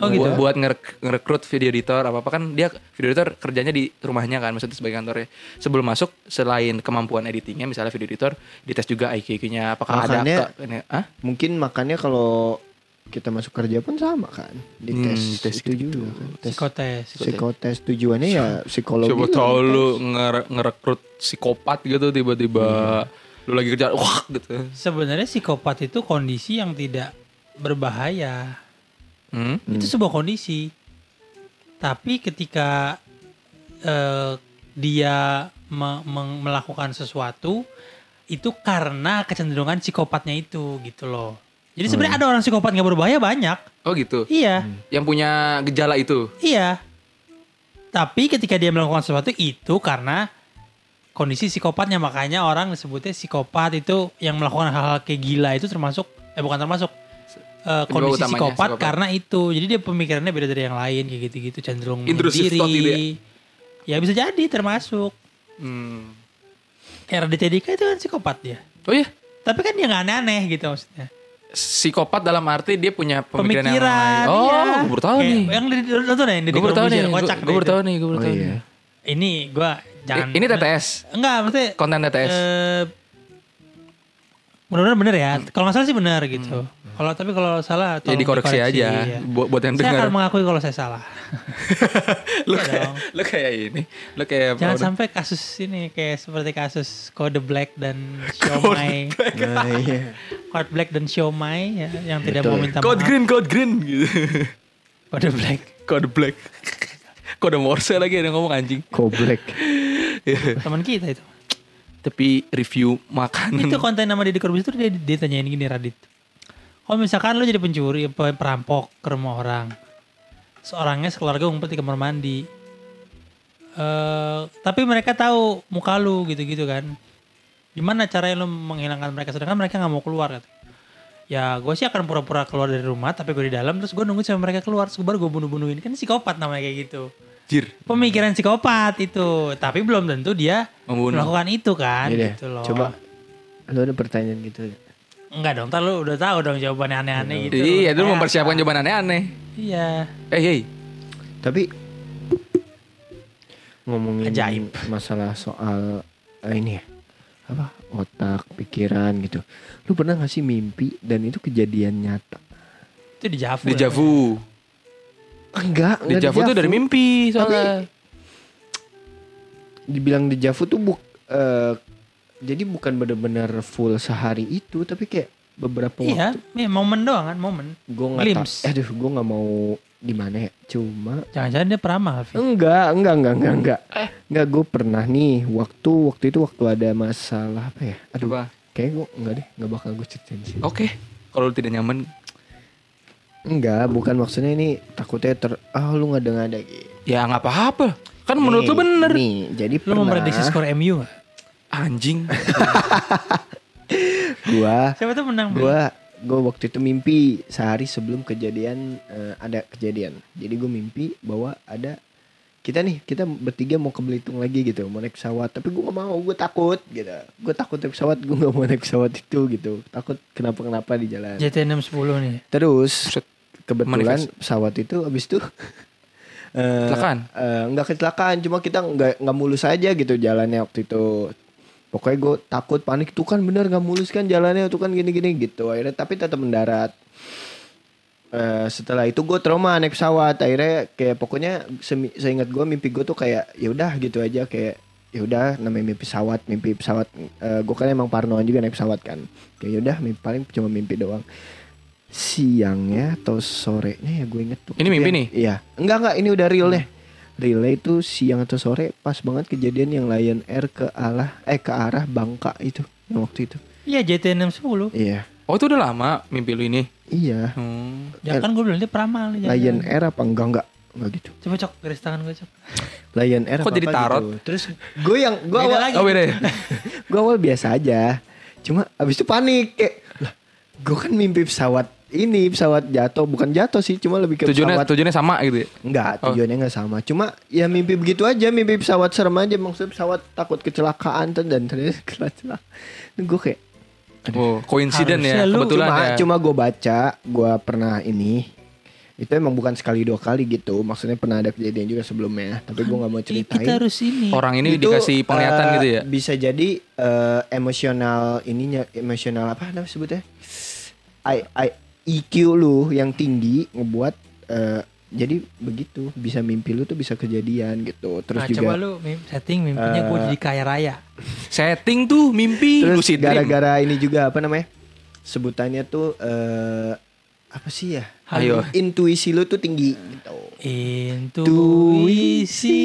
Speaker 2: Oh, gitu.
Speaker 1: Buat, buat ngerek- ngerekrut video editor apa apa kan dia video editor kerjanya di rumahnya kan maksudnya sebagai kantornya. Sebelum masuk selain kemampuan editingnya misalnya video editor dites juga IQ-nya apakah
Speaker 3: Makanya-
Speaker 1: ada ke- ini, ah?
Speaker 3: Mungkin makannya kalau kita masuk kerja pun sama kan. Di
Speaker 1: Hmm,
Speaker 3: tes
Speaker 1: tes
Speaker 3: itu
Speaker 1: gitu.
Speaker 3: juga kan. Tes
Speaker 2: Psikotes.
Speaker 3: psikotes tujuannya ya psikologi.
Speaker 1: Coba
Speaker 3: lah.
Speaker 1: tau lu ngere- ngerekrut psikopat gitu tiba-tiba
Speaker 2: Hmm.
Speaker 1: lu lagi kerja wah gitu.
Speaker 2: Sebenarnya psikopat itu kondisi yang tidak berbahaya.
Speaker 1: Hmm?
Speaker 2: Itu sebuah kondisi. Tapi ketika eh, dia me- meng- melakukan sesuatu itu karena kecenderungan psikopatnya itu gitu loh. Jadi sebenarnya ada orang psikopat nggak berbahaya banyak.
Speaker 1: Oh gitu.
Speaker 2: Iya,
Speaker 1: Yang punya gejala itu.
Speaker 2: iya. Tapi ketika dia melakukan sesuatu itu karena kondisi psikopatnya makanya orang disebutnya psikopat itu yang melakukan hal-hal kayak gila itu termasuk eh bukan termasuk eh, kondisi
Speaker 1: utamanya,
Speaker 2: psikopat,
Speaker 1: psikopat.
Speaker 2: karena itu. Jadi dia pemikirannya beda dari yang lain kayak gitu-gitu cenderung
Speaker 1: Intrusive
Speaker 2: menyendiri.
Speaker 1: thought gitu
Speaker 2: ya. bisa jadi termasuk
Speaker 1: Hmm.
Speaker 2: kayak Raditya Dika itu kan psikopat dia.
Speaker 1: Oh iya.
Speaker 2: Tapi kan dia nggak aneh-aneh gitu maksudnya.
Speaker 1: psikopat dalam arti dia punya pemikiran,
Speaker 2: Pemikiran,
Speaker 1: yang lain. Oh,
Speaker 2: iya.
Speaker 1: gue baru tahu
Speaker 2: Kayak-
Speaker 1: nih.
Speaker 2: Yang di- lu tau nih, yang di
Speaker 1: Gue baru tahu nih.
Speaker 2: Corbusier, kocak
Speaker 1: Gue
Speaker 2: deh
Speaker 1: baru
Speaker 2: itu.
Speaker 1: tahu nih. Gue baru
Speaker 3: Oh
Speaker 1: tahu
Speaker 3: iya.
Speaker 1: nih.
Speaker 2: ini gua jangan
Speaker 1: I- Ini TTS.
Speaker 2: enggak maksudnya
Speaker 1: Konten TTS.
Speaker 2: eh, mudah-mudahan bener ya kalau nggak salah sih bener gitu kalau tapi kalau salah
Speaker 1: Hmm. Ya
Speaker 2: tolong
Speaker 1: dikoreksi aja.
Speaker 2: ya.
Speaker 1: Buat buat yang
Speaker 2: saya
Speaker 1: dengar.
Speaker 2: akan mengakui kalau saya salah
Speaker 1: Lu
Speaker 2: Iya
Speaker 1: kayak
Speaker 2: dong.
Speaker 1: lu kayak ini. Lu kayak
Speaker 2: jangan
Speaker 1: udah-
Speaker 2: sampai kasus ini kayak seperti kasus kode black dan siomay
Speaker 3: Nah, iya.
Speaker 2: kode black dan siomay ya, yang tidak
Speaker 3: Betul.
Speaker 2: mau minta
Speaker 1: code
Speaker 2: maaf.
Speaker 1: green, code green gitu.
Speaker 2: kode black
Speaker 1: code black. Kode Morse lagi ada yang ngomong anjing.
Speaker 3: Koblek.
Speaker 1: Iya.
Speaker 2: teman kita itu
Speaker 1: Tapi review makanan.
Speaker 2: itu konten nama Deddy Corbuzier tuh dia, dia tanyain gini Radit kalau misalkan lu jadi pencuri pe- perampok ke rumah orang seorangnya sekeluarga ngumpet di kamar mandi eh tapi mereka tahu muka lu gitu-gitu kan gimana caranya lu menghilangkan mereka sedangkan mereka nggak mau keluar katanya. ya gue sih akan pura-pura keluar dari rumah tapi gue di dalam terus gue nunggu sampai mereka keluar terus gua baru gue bunuh-bunuhin kan psikopat namanya kayak gitu
Speaker 1: Jir.
Speaker 2: pemikiran psikopat itu tapi belum tentu dia
Speaker 1: Membunuh.
Speaker 2: melakukan itu kan
Speaker 3: Iya deh.
Speaker 2: gitu loh
Speaker 3: Coba lu ada pertanyaan gitu. ya?
Speaker 2: Enggak dong, ntar lu udah tahu dong jawabannya aneh-aneh gitu.
Speaker 1: Iya, lu
Speaker 2: Kayak-
Speaker 1: mempersiapkan jawaban aneh-aneh.
Speaker 2: Iya.
Speaker 1: Eh, hey.
Speaker 3: Tapi ngomongin
Speaker 2: Ajaib.
Speaker 3: masalah soal eh, ini ya apa otak pikiran gitu lu pernah gak sih mimpi dan itu kejadian nyata
Speaker 2: Itu di Javu.
Speaker 1: Deja
Speaker 2: namanya.
Speaker 1: vu.
Speaker 3: enggak enggak
Speaker 1: Deja vu tuh dari mimpi soalnya.
Speaker 3: dibilang dejavu tuh buk eh, jadi bukan bener-bener full sehari itu tapi kayak beberapa
Speaker 2: Iya,
Speaker 3: waktu
Speaker 2: iya, momen doang kan, momen.
Speaker 3: gue nggak tahu
Speaker 2: Glimpse.
Speaker 3: aduh gue nggak mau di mana ya cuma
Speaker 2: Jangan-jangan dia peramal, Alfi.
Speaker 3: enggak enggak enggak enggak enggak enggak gue pernah nih waktu waktu itu waktu ada masalah apa ya aduh
Speaker 1: Coba.
Speaker 3: kayak gue enggak deh enggak bakal gue ceritain sih
Speaker 1: Oke. Kalau lu tidak nyaman,
Speaker 3: enggak bukan maksudnya ini takutnya ter ah lu nggak ada gitu
Speaker 1: ya nggak apa-apa. Kan menurut lu
Speaker 3: Nih,
Speaker 1: bener.
Speaker 3: nih jadi
Speaker 2: Lu
Speaker 3: pernah
Speaker 2: memprediksi skor MU gak?
Speaker 1: Anjing.
Speaker 3: gua
Speaker 2: Siapa tuh menang? Bro?
Speaker 3: gua gue waktu itu mimpi sehari sebelum kejadian eh, ada kejadian jadi gue mimpi bahwa ada kita nih kita bertiga mau ke Belitung lagi gitu mau naik pesawat tapi gue gak mau gue takut gitu gue takut naik pesawat gue gak mau naik pesawat itu gitu takut kenapa kenapa di jalan
Speaker 2: JT 610 nih.
Speaker 3: terus
Speaker 1: Buset.
Speaker 3: kebetulan
Speaker 1: Manifest.
Speaker 3: pesawat itu abis itu eh,
Speaker 1: Kecelakaan?
Speaker 3: eh, nggak kecelakaan cuma kita nggak nggak mulus aja gitu jalannya waktu itu pokoknya gue takut panik tuh kan bener nggak mulus kan jalannya tuh kan gini-gini gitu akhirnya tapi tetap mendarat Eh, setelah itu gue trauma naik pesawat akhirnya kayak pokoknya semi- seingat gue mimpi gue tuh kayak ya udah gitu aja kayak ya udah namanya mimpi pesawat mimpi pesawat gue kan emang parnoan juga naik pesawat kan kayak ya udah mimpi paling cuma mimpi doang siangnya atau sorenya ya gue inget tuh
Speaker 1: Ini mimpi nih? Hmm.
Speaker 3: iya enggak enggak ini udah real deh relay itu siang atau sore pas banget kejadian yang Lion Air ke arah eh ke arah Bangka itu yang waktu itu.
Speaker 2: Iya JT 610.
Speaker 3: Iya.
Speaker 1: Oh itu udah lama mimpi lu ini.
Speaker 3: Iya.
Speaker 1: Hmm.
Speaker 2: Ya kan gue bilang dia peramal. dia
Speaker 3: Lion Ah,
Speaker 2: jangan.
Speaker 3: Air apa enggak enggak enggak gitu.
Speaker 2: Coba cok garis tangan gue cok.
Speaker 3: Lion Air
Speaker 1: Kok
Speaker 3: apa-apa
Speaker 1: jadi tarot?
Speaker 3: gitu. Terus gue yang gue
Speaker 2: Beda
Speaker 3: awal
Speaker 2: lagi.
Speaker 1: Oh beda ya?
Speaker 3: gue awal biasa aja. Cuma abis itu panik kayak lah gue kan mimpi pesawat ini pesawat jatuh bukan jatuh sih cuma lebih ke
Speaker 1: tujuannya
Speaker 3: pesawat
Speaker 1: tujuannya sama gitu ya?
Speaker 3: Enggak,
Speaker 1: Oh.
Speaker 3: tujuannya enggak sama. Cuma ya mimpi begitu aja, mimpi pesawat serem aja. Maksudnya pesawat takut kecelakaan tuh, dan ternyata kecelakaan. Gue kayak,
Speaker 1: Oh, koinsiden ya,
Speaker 2: Harusnya lu-
Speaker 1: kebetulan
Speaker 3: cuma,
Speaker 1: ya.
Speaker 3: cuma gue baca, gue pernah ini. Itu emang bukan sekali dua kali gitu. Maksudnya pernah ada kejadian juga sebelumnya. Tapi gue gak
Speaker 2: Ih,
Speaker 3: mau ceritain.
Speaker 2: Kita harus ini.
Speaker 1: Orang ini
Speaker 3: Itu,
Speaker 1: dikasih penglihatan
Speaker 3: eh,
Speaker 1: gitu ya.
Speaker 3: Bisa jadi eh, emosional ininya, emosional apa namanya sebutnya? I, I- IQ lu yang tinggi ngebuat eh, jadi begitu bisa mimpi lu tuh bisa kejadian gitu terus
Speaker 2: Nah,
Speaker 3: juga
Speaker 2: coba lu mim- setting mimpinya gue
Speaker 3: Eh,
Speaker 2: jadi kaya raya.
Speaker 1: Setting tuh mimpi
Speaker 3: terus
Speaker 1: lucid dream.
Speaker 3: gara-gara ini juga apa namanya sebutannya tuh eh, apa sih ya
Speaker 1: Ayo.
Speaker 3: intuisi lu tuh tinggi gitu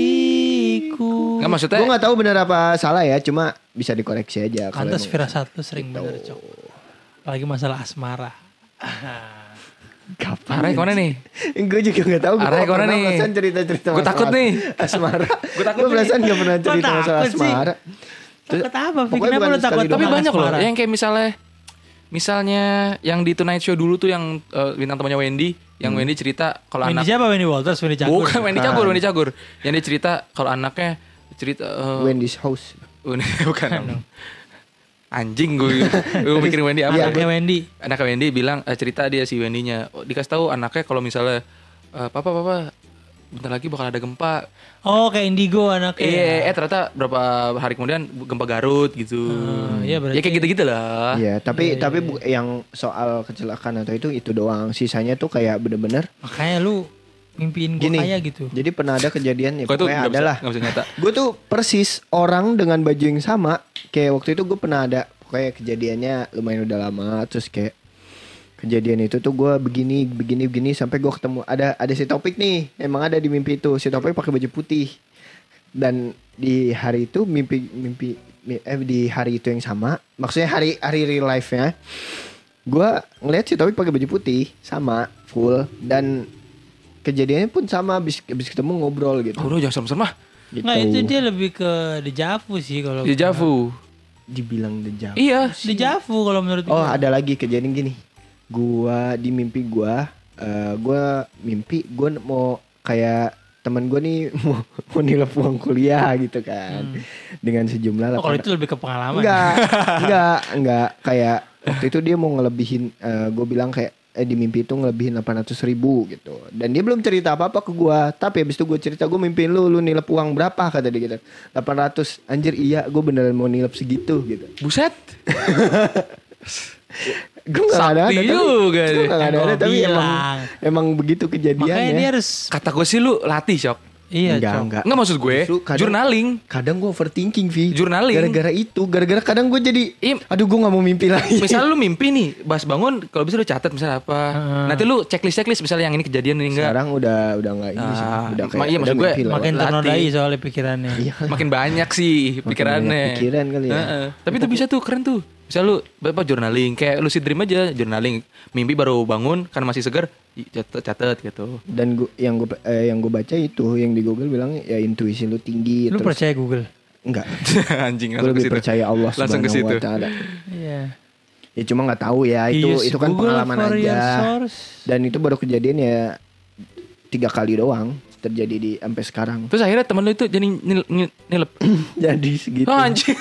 Speaker 2: Intuisiku.
Speaker 1: Enggak maksudnya
Speaker 3: gue nggak tahu bener apa salah ya cuma bisa dikoreksi aja kalau
Speaker 2: Kantas
Speaker 3: emang-
Speaker 2: firasat lu sering
Speaker 3: Gitu.
Speaker 2: bener cok. Apalagi masalah asmara.
Speaker 3: Kapan
Speaker 1: Arahnya
Speaker 3: ya?
Speaker 1: kemana nih?
Speaker 3: gue juga gak tahu.
Speaker 1: Arahnya kemana nih?
Speaker 3: Perasaan cerita cerita.
Speaker 1: Gua takut nih.
Speaker 3: Asmara.
Speaker 1: Gua takut
Speaker 3: Gua perasaan gak pernah
Speaker 2: Gua
Speaker 3: cerita masalah
Speaker 2: takut sih.
Speaker 3: asmara. Terus-
Speaker 2: Takut apa? Fik?
Speaker 3: Pokoknya
Speaker 2: Kenapa
Speaker 3: bukan
Speaker 2: lu takut?
Speaker 3: sekali doang.
Speaker 1: Tapi
Speaker 2: Orang
Speaker 1: banyak loh
Speaker 2: asmara.
Speaker 1: yang kayak misalnya misalnya yang di Tonight Show dulu tuh yang eh, bintang temannya Wendy, yang
Speaker 3: Hmm.
Speaker 1: Wendy cerita kalau
Speaker 2: Wendy
Speaker 1: anak
Speaker 2: siapa Wendy Walters Wendy Cagur
Speaker 1: Bukan Wendy
Speaker 3: Bukan.
Speaker 1: Cagur, Wendy Cagur. Yang dia cerita kalau anaknya cerita eh,
Speaker 3: Wendy's house.
Speaker 1: Wendy- bukan. Anjing gue, gue mikirin Wendy apa?
Speaker 2: anaknya Wendy
Speaker 1: Anaknya Wendy bilang eh, cerita dia si Wendy-nya Oh, dikasih tahu anaknya kalau misalnya eh, papa papa bentar lagi bakal ada gempa.
Speaker 2: oh kayak Indigo anaknya
Speaker 3: Iya,
Speaker 1: Eh, eh ternyata berapa hari kemudian gempa Garut gitu.
Speaker 2: Hmm, iya, berarti-
Speaker 1: ya kayak gitu-gitu lah.
Speaker 3: Iya, tapi tapi bu- yang soal kecelakaan atau itu itu doang. Sisanya tuh kayak bener-bener
Speaker 2: makanya lu mimpiin gue
Speaker 3: gini.
Speaker 2: kaya gitu
Speaker 3: Jadi pernah ada kejadian ya
Speaker 1: Gua tuh
Speaker 3: pokoknya
Speaker 1: nggak
Speaker 3: ada
Speaker 1: bisa,
Speaker 3: lah.
Speaker 1: nggak bisa nyata.
Speaker 3: Gue tuh persis orang dengan baju yang sama. Kayak waktu itu gue pernah ada pokoknya kejadiannya lumayan udah lama. Terus kayak kejadian itu tuh gue begini begini begini sampai gue ketemu ada ada si topik nih. Emang ada di mimpi itu si topik pakai baju putih. Dan di hari itu mimpi mimpi mi- eh di hari itu yang sama. Maksudnya hari hari real life nya. Gue ngeliat si topik pakai baju putih sama full dan kejadiannya pun sama abis, abis ketemu ngobrol gitu.
Speaker 1: Oh, udah jangan serem-serem ah.
Speaker 3: Gitu.
Speaker 2: nggak Nah, itu dia lebih ke dejavu sih kalau
Speaker 1: Di Javu.
Speaker 3: dibilang deja.
Speaker 1: Iya.
Speaker 2: dejavu kalau menurut
Speaker 3: Oh,
Speaker 2: gua.
Speaker 3: ada lagi kejadian gini. Gua di mimpi gua, eh, gua mimpi gua mau kayak teman gua nih mau, mau nilai uang kuliah gitu kan. Dengan sejumlah
Speaker 2: Hmm. Oh, kalau
Speaker 3: delapan-
Speaker 2: itu lebih ke pengalaman
Speaker 3: Enggak, enggak, enggak. Kayak waktu itu dia mau ngelebihin, gue bilang kayak eh, di mimpi itu ngelebihin 800 ribu gitu. Dan dia belum cerita apa-apa ke gue. Tapi habis itu gue cerita, gue mimpiin lu, lu nilep uang berapa kata dia gitu. 800, anjir iya gue beneran mau nilep segitu gitu.
Speaker 1: Buset.
Speaker 3: Gue gak ada,
Speaker 1: Sakti
Speaker 3: tapi,
Speaker 1: juga
Speaker 3: gua
Speaker 1: nih.
Speaker 3: nggak ada-ada,
Speaker 2: Yang gua
Speaker 3: tapi emang,
Speaker 2: bilang.
Speaker 3: emang begitu kejadiannya.
Speaker 2: makanya dia harus
Speaker 1: Kata gue sih lu latih, Sok.
Speaker 2: iya
Speaker 3: ya. enggak,
Speaker 2: Cok.
Speaker 3: enggak.
Speaker 1: Enggak maksud gue,
Speaker 3: Justru kadang-
Speaker 1: journaling.
Speaker 3: Kadang gue overthinking, Vi.
Speaker 1: Journaling.
Speaker 3: Gara-gara itu, gara-gara kadang gue jadi,
Speaker 1: Im-
Speaker 3: aduh gue gak mau mimpi lagi.
Speaker 1: Misalnya lu mimpi nih, pas bangun kalau bisa lu catat misalnya apa. Nanti lu checklist-checklist misalnya yang ini kejadian ini enggak.
Speaker 3: Sekarang udah udah nggak ini sih,
Speaker 1: Ah,
Speaker 3: udah kayak
Speaker 1: ma- iya,
Speaker 3: udah
Speaker 1: maksud gue,
Speaker 3: mimpi lewat.
Speaker 2: makin
Speaker 1: Latih.
Speaker 2: ternodai soalnya pikirannya
Speaker 3: Iya.
Speaker 1: Makin banyak sih
Speaker 3: banyak
Speaker 1: pikirannya.
Speaker 3: pikiran kali ya.
Speaker 1: Heeh. Tapi itu bisa tuh keren tuh. Misal lu apa journaling kayak lucid dream aja journaling. Mimpi baru bangun karena masih segar i- catet catet gitu.
Speaker 3: dan gua, yang gue yang gue baca itu yang di Google bilang ya intuisi lu tinggi
Speaker 2: lu percaya Google
Speaker 3: enggak
Speaker 1: Anjing
Speaker 3: gue
Speaker 1: langsung ke
Speaker 3: lebih
Speaker 1: situ.
Speaker 3: percaya Allah
Speaker 1: Langsung ke
Speaker 3: Subhanahu
Speaker 1: situ.
Speaker 3: wa taala
Speaker 2: iya
Speaker 3: ya cuma nggak tahu ya itu
Speaker 2: Use
Speaker 3: itu kan
Speaker 2: Google
Speaker 3: pengalaman
Speaker 2: for your
Speaker 3: aja
Speaker 2: source.
Speaker 3: dan itu baru kejadian ya tiga kali doang terjadi di sampai sekarang
Speaker 1: Terus akhirnya temen lu itu jadi nil, nil- nilep.
Speaker 3: jadi segitu
Speaker 1: Oh, anjing.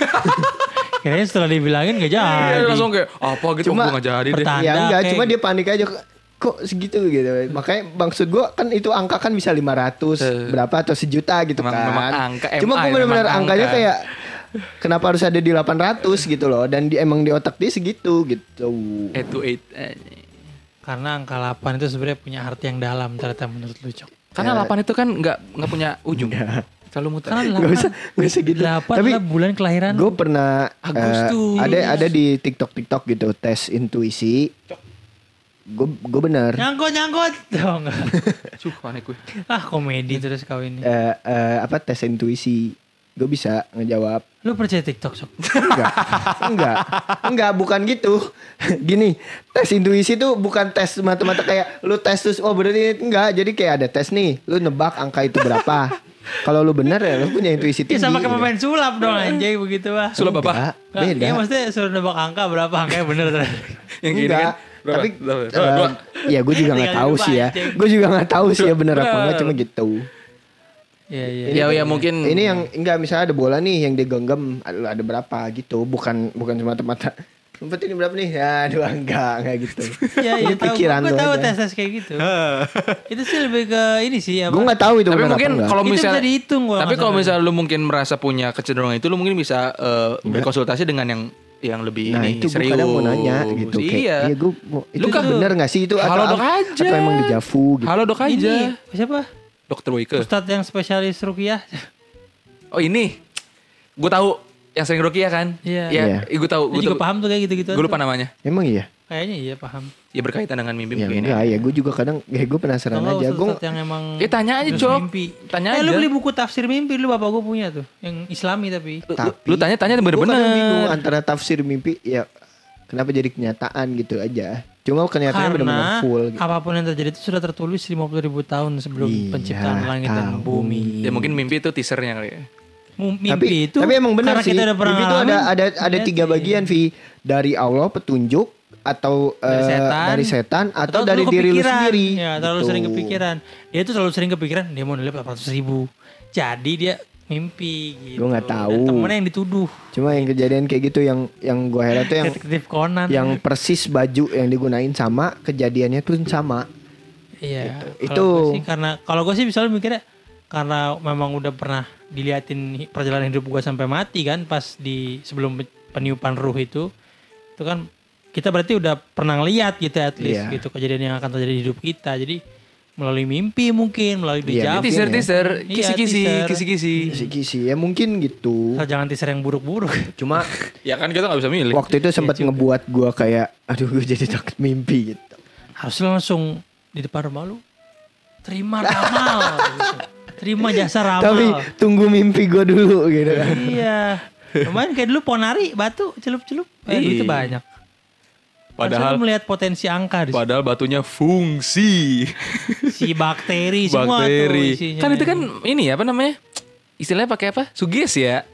Speaker 2: kayaknya setelah dibilangin gak
Speaker 1: Iya,
Speaker 2: jadi
Speaker 1: langsung kayak apa gitu
Speaker 3: Cuma
Speaker 1: gue gak jadi deh.
Speaker 2: pertanyaan-
Speaker 3: ya
Speaker 2: Anda
Speaker 3: enggak
Speaker 2: kayak-
Speaker 3: cuma dia panik aja kok segitu gitu makanya maksud gue kan itu angka kan bisa 500 berapa atau sejuta gitu
Speaker 1: Memang-
Speaker 3: kan
Speaker 1: memang Eh. angka,
Speaker 3: cuma
Speaker 1: MI
Speaker 3: gue benar-benar
Speaker 1: memang
Speaker 3: angkanya
Speaker 1: angka.
Speaker 3: kayak kenapa harus ada di 800 gitu loh dan di, emang di otak dia segitu gitu
Speaker 1: Eh to eight. Eh,
Speaker 2: Karena angka 8 itu sebenarnya punya arti yang dalam ternyata menurut lu, Cok.
Speaker 1: Karena
Speaker 3: Ya.
Speaker 1: delapan itu kan nggak nggak punya ujung. Selalu muter.
Speaker 2: Karena
Speaker 3: Nggak usah- nggak usah gitu.
Speaker 2: 8
Speaker 3: Tapi
Speaker 2: adalah bulan kelahiran.
Speaker 3: gue pernah eh,
Speaker 2: Agustus.
Speaker 3: ada ada di TikTok TikTok gitu tes intuisi gue gue benar
Speaker 2: Nyangkut nyangkut. Oh, enggak.
Speaker 1: Cuh, aneh gue.
Speaker 2: ah komedi terus kau ini.
Speaker 3: Eh, eh, apa tes intuisi gue bisa ngejawab
Speaker 2: Lu percaya TikTok sok?
Speaker 3: enggak enggak enggak bukan gitu gini tes intuisi tuh bukan tes mata-mata kayak lu tes terus oh berarti ini." enggak jadi kayak ada tes nih lu nebak angka itu berapa kalau lu benar ya lu punya intuisi
Speaker 2: Ya
Speaker 3: tinggi gitu.
Speaker 2: sama kayak pemain sulap dong anjay begitu ah.
Speaker 1: Sulap apa?
Speaker 3: Enggak, beda
Speaker 2: Iya maksudnya suruh nebak angka berapa angkanya bener tadi.
Speaker 1: Yang gini
Speaker 3: Enggak.
Speaker 1: kan. Berapa?
Speaker 3: Tapi
Speaker 1: Berapa?
Speaker 3: eh,
Speaker 1: Dua, dua.
Speaker 3: ya gue juga nggak
Speaker 2: Tinggal
Speaker 3: tahu
Speaker 2: lupa
Speaker 3: sih ya.
Speaker 2: aja.
Speaker 3: Gue juga nggak tahu sih ya bener apa enggak cuma gitu.
Speaker 2: Iya iya.
Speaker 1: Ya ya mungkin
Speaker 3: Ini yang enggak misalnya ada bola nih yang digenggam ada, ada berapa gitu, bukan bukan cuma mata Sempet ini berapa nih? Ya, aduh enggak, enggak gitu.
Speaker 2: Iya
Speaker 3: Ini
Speaker 2: iya tahu.
Speaker 3: pikiran
Speaker 2: Gue
Speaker 3: lu
Speaker 2: tahu
Speaker 3: aja.
Speaker 2: tes tes kayak gitu. itu sih lebih ke ini sih apa?
Speaker 3: Gue enggak tahu itu
Speaker 1: tapi
Speaker 3: bener apa
Speaker 1: mungkin
Speaker 3: enggak.
Speaker 1: kalau
Speaker 2: Itu
Speaker 1: misalnya
Speaker 2: bisa dihitung kalau
Speaker 1: tapi
Speaker 2: nggak
Speaker 1: kalau
Speaker 2: salah.
Speaker 1: misalnya lu mungkin merasa punya kecenderungan itu lu mungkin bisa eh, berkonsultasi dengan yang yang lebih
Speaker 3: Nah
Speaker 1: ini
Speaker 3: itu gue
Speaker 1: serius
Speaker 3: kadang mau nanya gitu kayak,
Speaker 1: iya
Speaker 3: iya gue mau,
Speaker 1: Lu
Speaker 3: Itu
Speaker 1: kan-
Speaker 3: bener gak sih itu
Speaker 1: halo
Speaker 3: atau,
Speaker 1: dok aja
Speaker 3: atau emang dejavu gitu
Speaker 1: halo dok aja
Speaker 2: Ini siapa?
Speaker 1: dokter Wike
Speaker 2: Ustadz yang spesialis rukiah.
Speaker 1: oh ini gue tahu yang sering Rukiah kan
Speaker 2: Iya.
Speaker 1: Iya,
Speaker 3: Iya.
Speaker 1: gue tahu
Speaker 2: Dia
Speaker 1: gue
Speaker 2: juga
Speaker 1: tahu
Speaker 2: paham tuh kayak gitu-gitu.
Speaker 1: gue lupa namanya
Speaker 3: Emang iya?
Speaker 2: Kayaknya iya paham.
Speaker 1: ya berkaitan dengan mimpi
Speaker 3: Ya
Speaker 1: mungkin
Speaker 3: enggak ya gue juga kadang ya gue penasaran
Speaker 2: Kalau
Speaker 3: aja Gue
Speaker 2: ustadz yang emang
Speaker 1: Eh, tanya aja,
Speaker 2: nulis
Speaker 1: Cok.
Speaker 2: mimpi.
Speaker 1: Tanya
Speaker 2: eh,
Speaker 1: aja.
Speaker 2: lu beli buku tafsir mimpi lu bapak gue punya tuh, yang Islami tapi.
Speaker 1: Lu- lu-
Speaker 3: Tapi-
Speaker 1: lu tanya tanya
Speaker 3: Gua kadang bingung
Speaker 1: bener-bener
Speaker 3: antara tafsir mimpi ya kenapa jadi kenyataan gitu aja. Cuma kenyataannya benar-benar
Speaker 2: Karena
Speaker 3: full gitu.
Speaker 2: apapun yang terjadi itu sudah tertulis 50.000 tahun sebelum
Speaker 3: Iya,
Speaker 2: penciptaan langit dan
Speaker 3: tahu.
Speaker 2: bumi.
Speaker 1: ya mungkin mimpi itu teasernya kali ya
Speaker 2: Mu- Mimpi
Speaker 3: tapi,
Speaker 2: itu
Speaker 3: tapi emang benar
Speaker 2: karena
Speaker 3: sih.
Speaker 2: kita ya, udah pernah
Speaker 3: mimpi itu ada
Speaker 2: ngalamin,
Speaker 3: ada ada tiga
Speaker 2: berarti.
Speaker 3: bagian Vi dari Allah petunjuk atau eh,
Speaker 2: dari setan,
Speaker 3: dari setan atau, dari
Speaker 2: lu
Speaker 3: diri lu
Speaker 2: kepikiran.
Speaker 3: sendiri.
Speaker 2: Ya, terlalu
Speaker 3: gitu.
Speaker 2: sering kepikiran. Dia tuh terlalu sering kepikiran dia mau nilai 400 ribu. Jadi dia mimpi gitu.
Speaker 3: Gua nggak tahu.
Speaker 2: Dan temennya yang dituduh.
Speaker 3: Cuma yang kejadian kayak gitu yang yang gue heran tuh yang
Speaker 2: Detektif Conan.
Speaker 3: yang persis baju yang digunain sama kejadiannya pun sama.
Speaker 2: Iya. Kalau
Speaker 3: Gitu. Itu.
Speaker 2: gua sih karena kalau gue sih misalnya mikirnya karena memang udah pernah diliatin hi- perjalanan hidup gue sampai mati kan pas di sebelum pe- peniupan ruh itu itu kan kita berarti udah pernah lihat gitu at least
Speaker 3: Iya.
Speaker 2: gitu kejadian yang akan terjadi di hidup kita jadi melalui mimpi mungkin melalui
Speaker 3: Iya,
Speaker 2: dejavu
Speaker 3: mungkin
Speaker 1: teaser
Speaker 3: ya.
Speaker 1: teaser
Speaker 2: Iya,
Speaker 1: kisi kisi
Speaker 2: teaser.
Speaker 1: kisi kisi
Speaker 3: Kisi-kisi ya mungkin gitu.
Speaker 2: Asal jangan teaser yang buruk-buruk
Speaker 3: Cuma
Speaker 1: ya kan kita nggak bisa milih
Speaker 3: waktu itu sempat ngebuat gue kayak aduh gue jadi takut mimpi gitu.
Speaker 2: harus langsung di depan rumah lu terima ramal gitu. terima jasa ramal
Speaker 3: Tapi tunggu mimpi gue dulu gitu kan.
Speaker 2: iya. Kemarin kayak dulu ponari, batu, celup-celup. Eh,
Speaker 1: Iya.
Speaker 2: itu banyak.
Speaker 1: padahal
Speaker 2: Padahal melihat potensi angka di situ.
Speaker 1: padahal batunya fungsi
Speaker 2: si bakteri semua
Speaker 1: bakteri.
Speaker 2: tuh isinya.
Speaker 1: Kan itu kan ini ya apa namanya? Istilahnya pakai apa? Suges ya?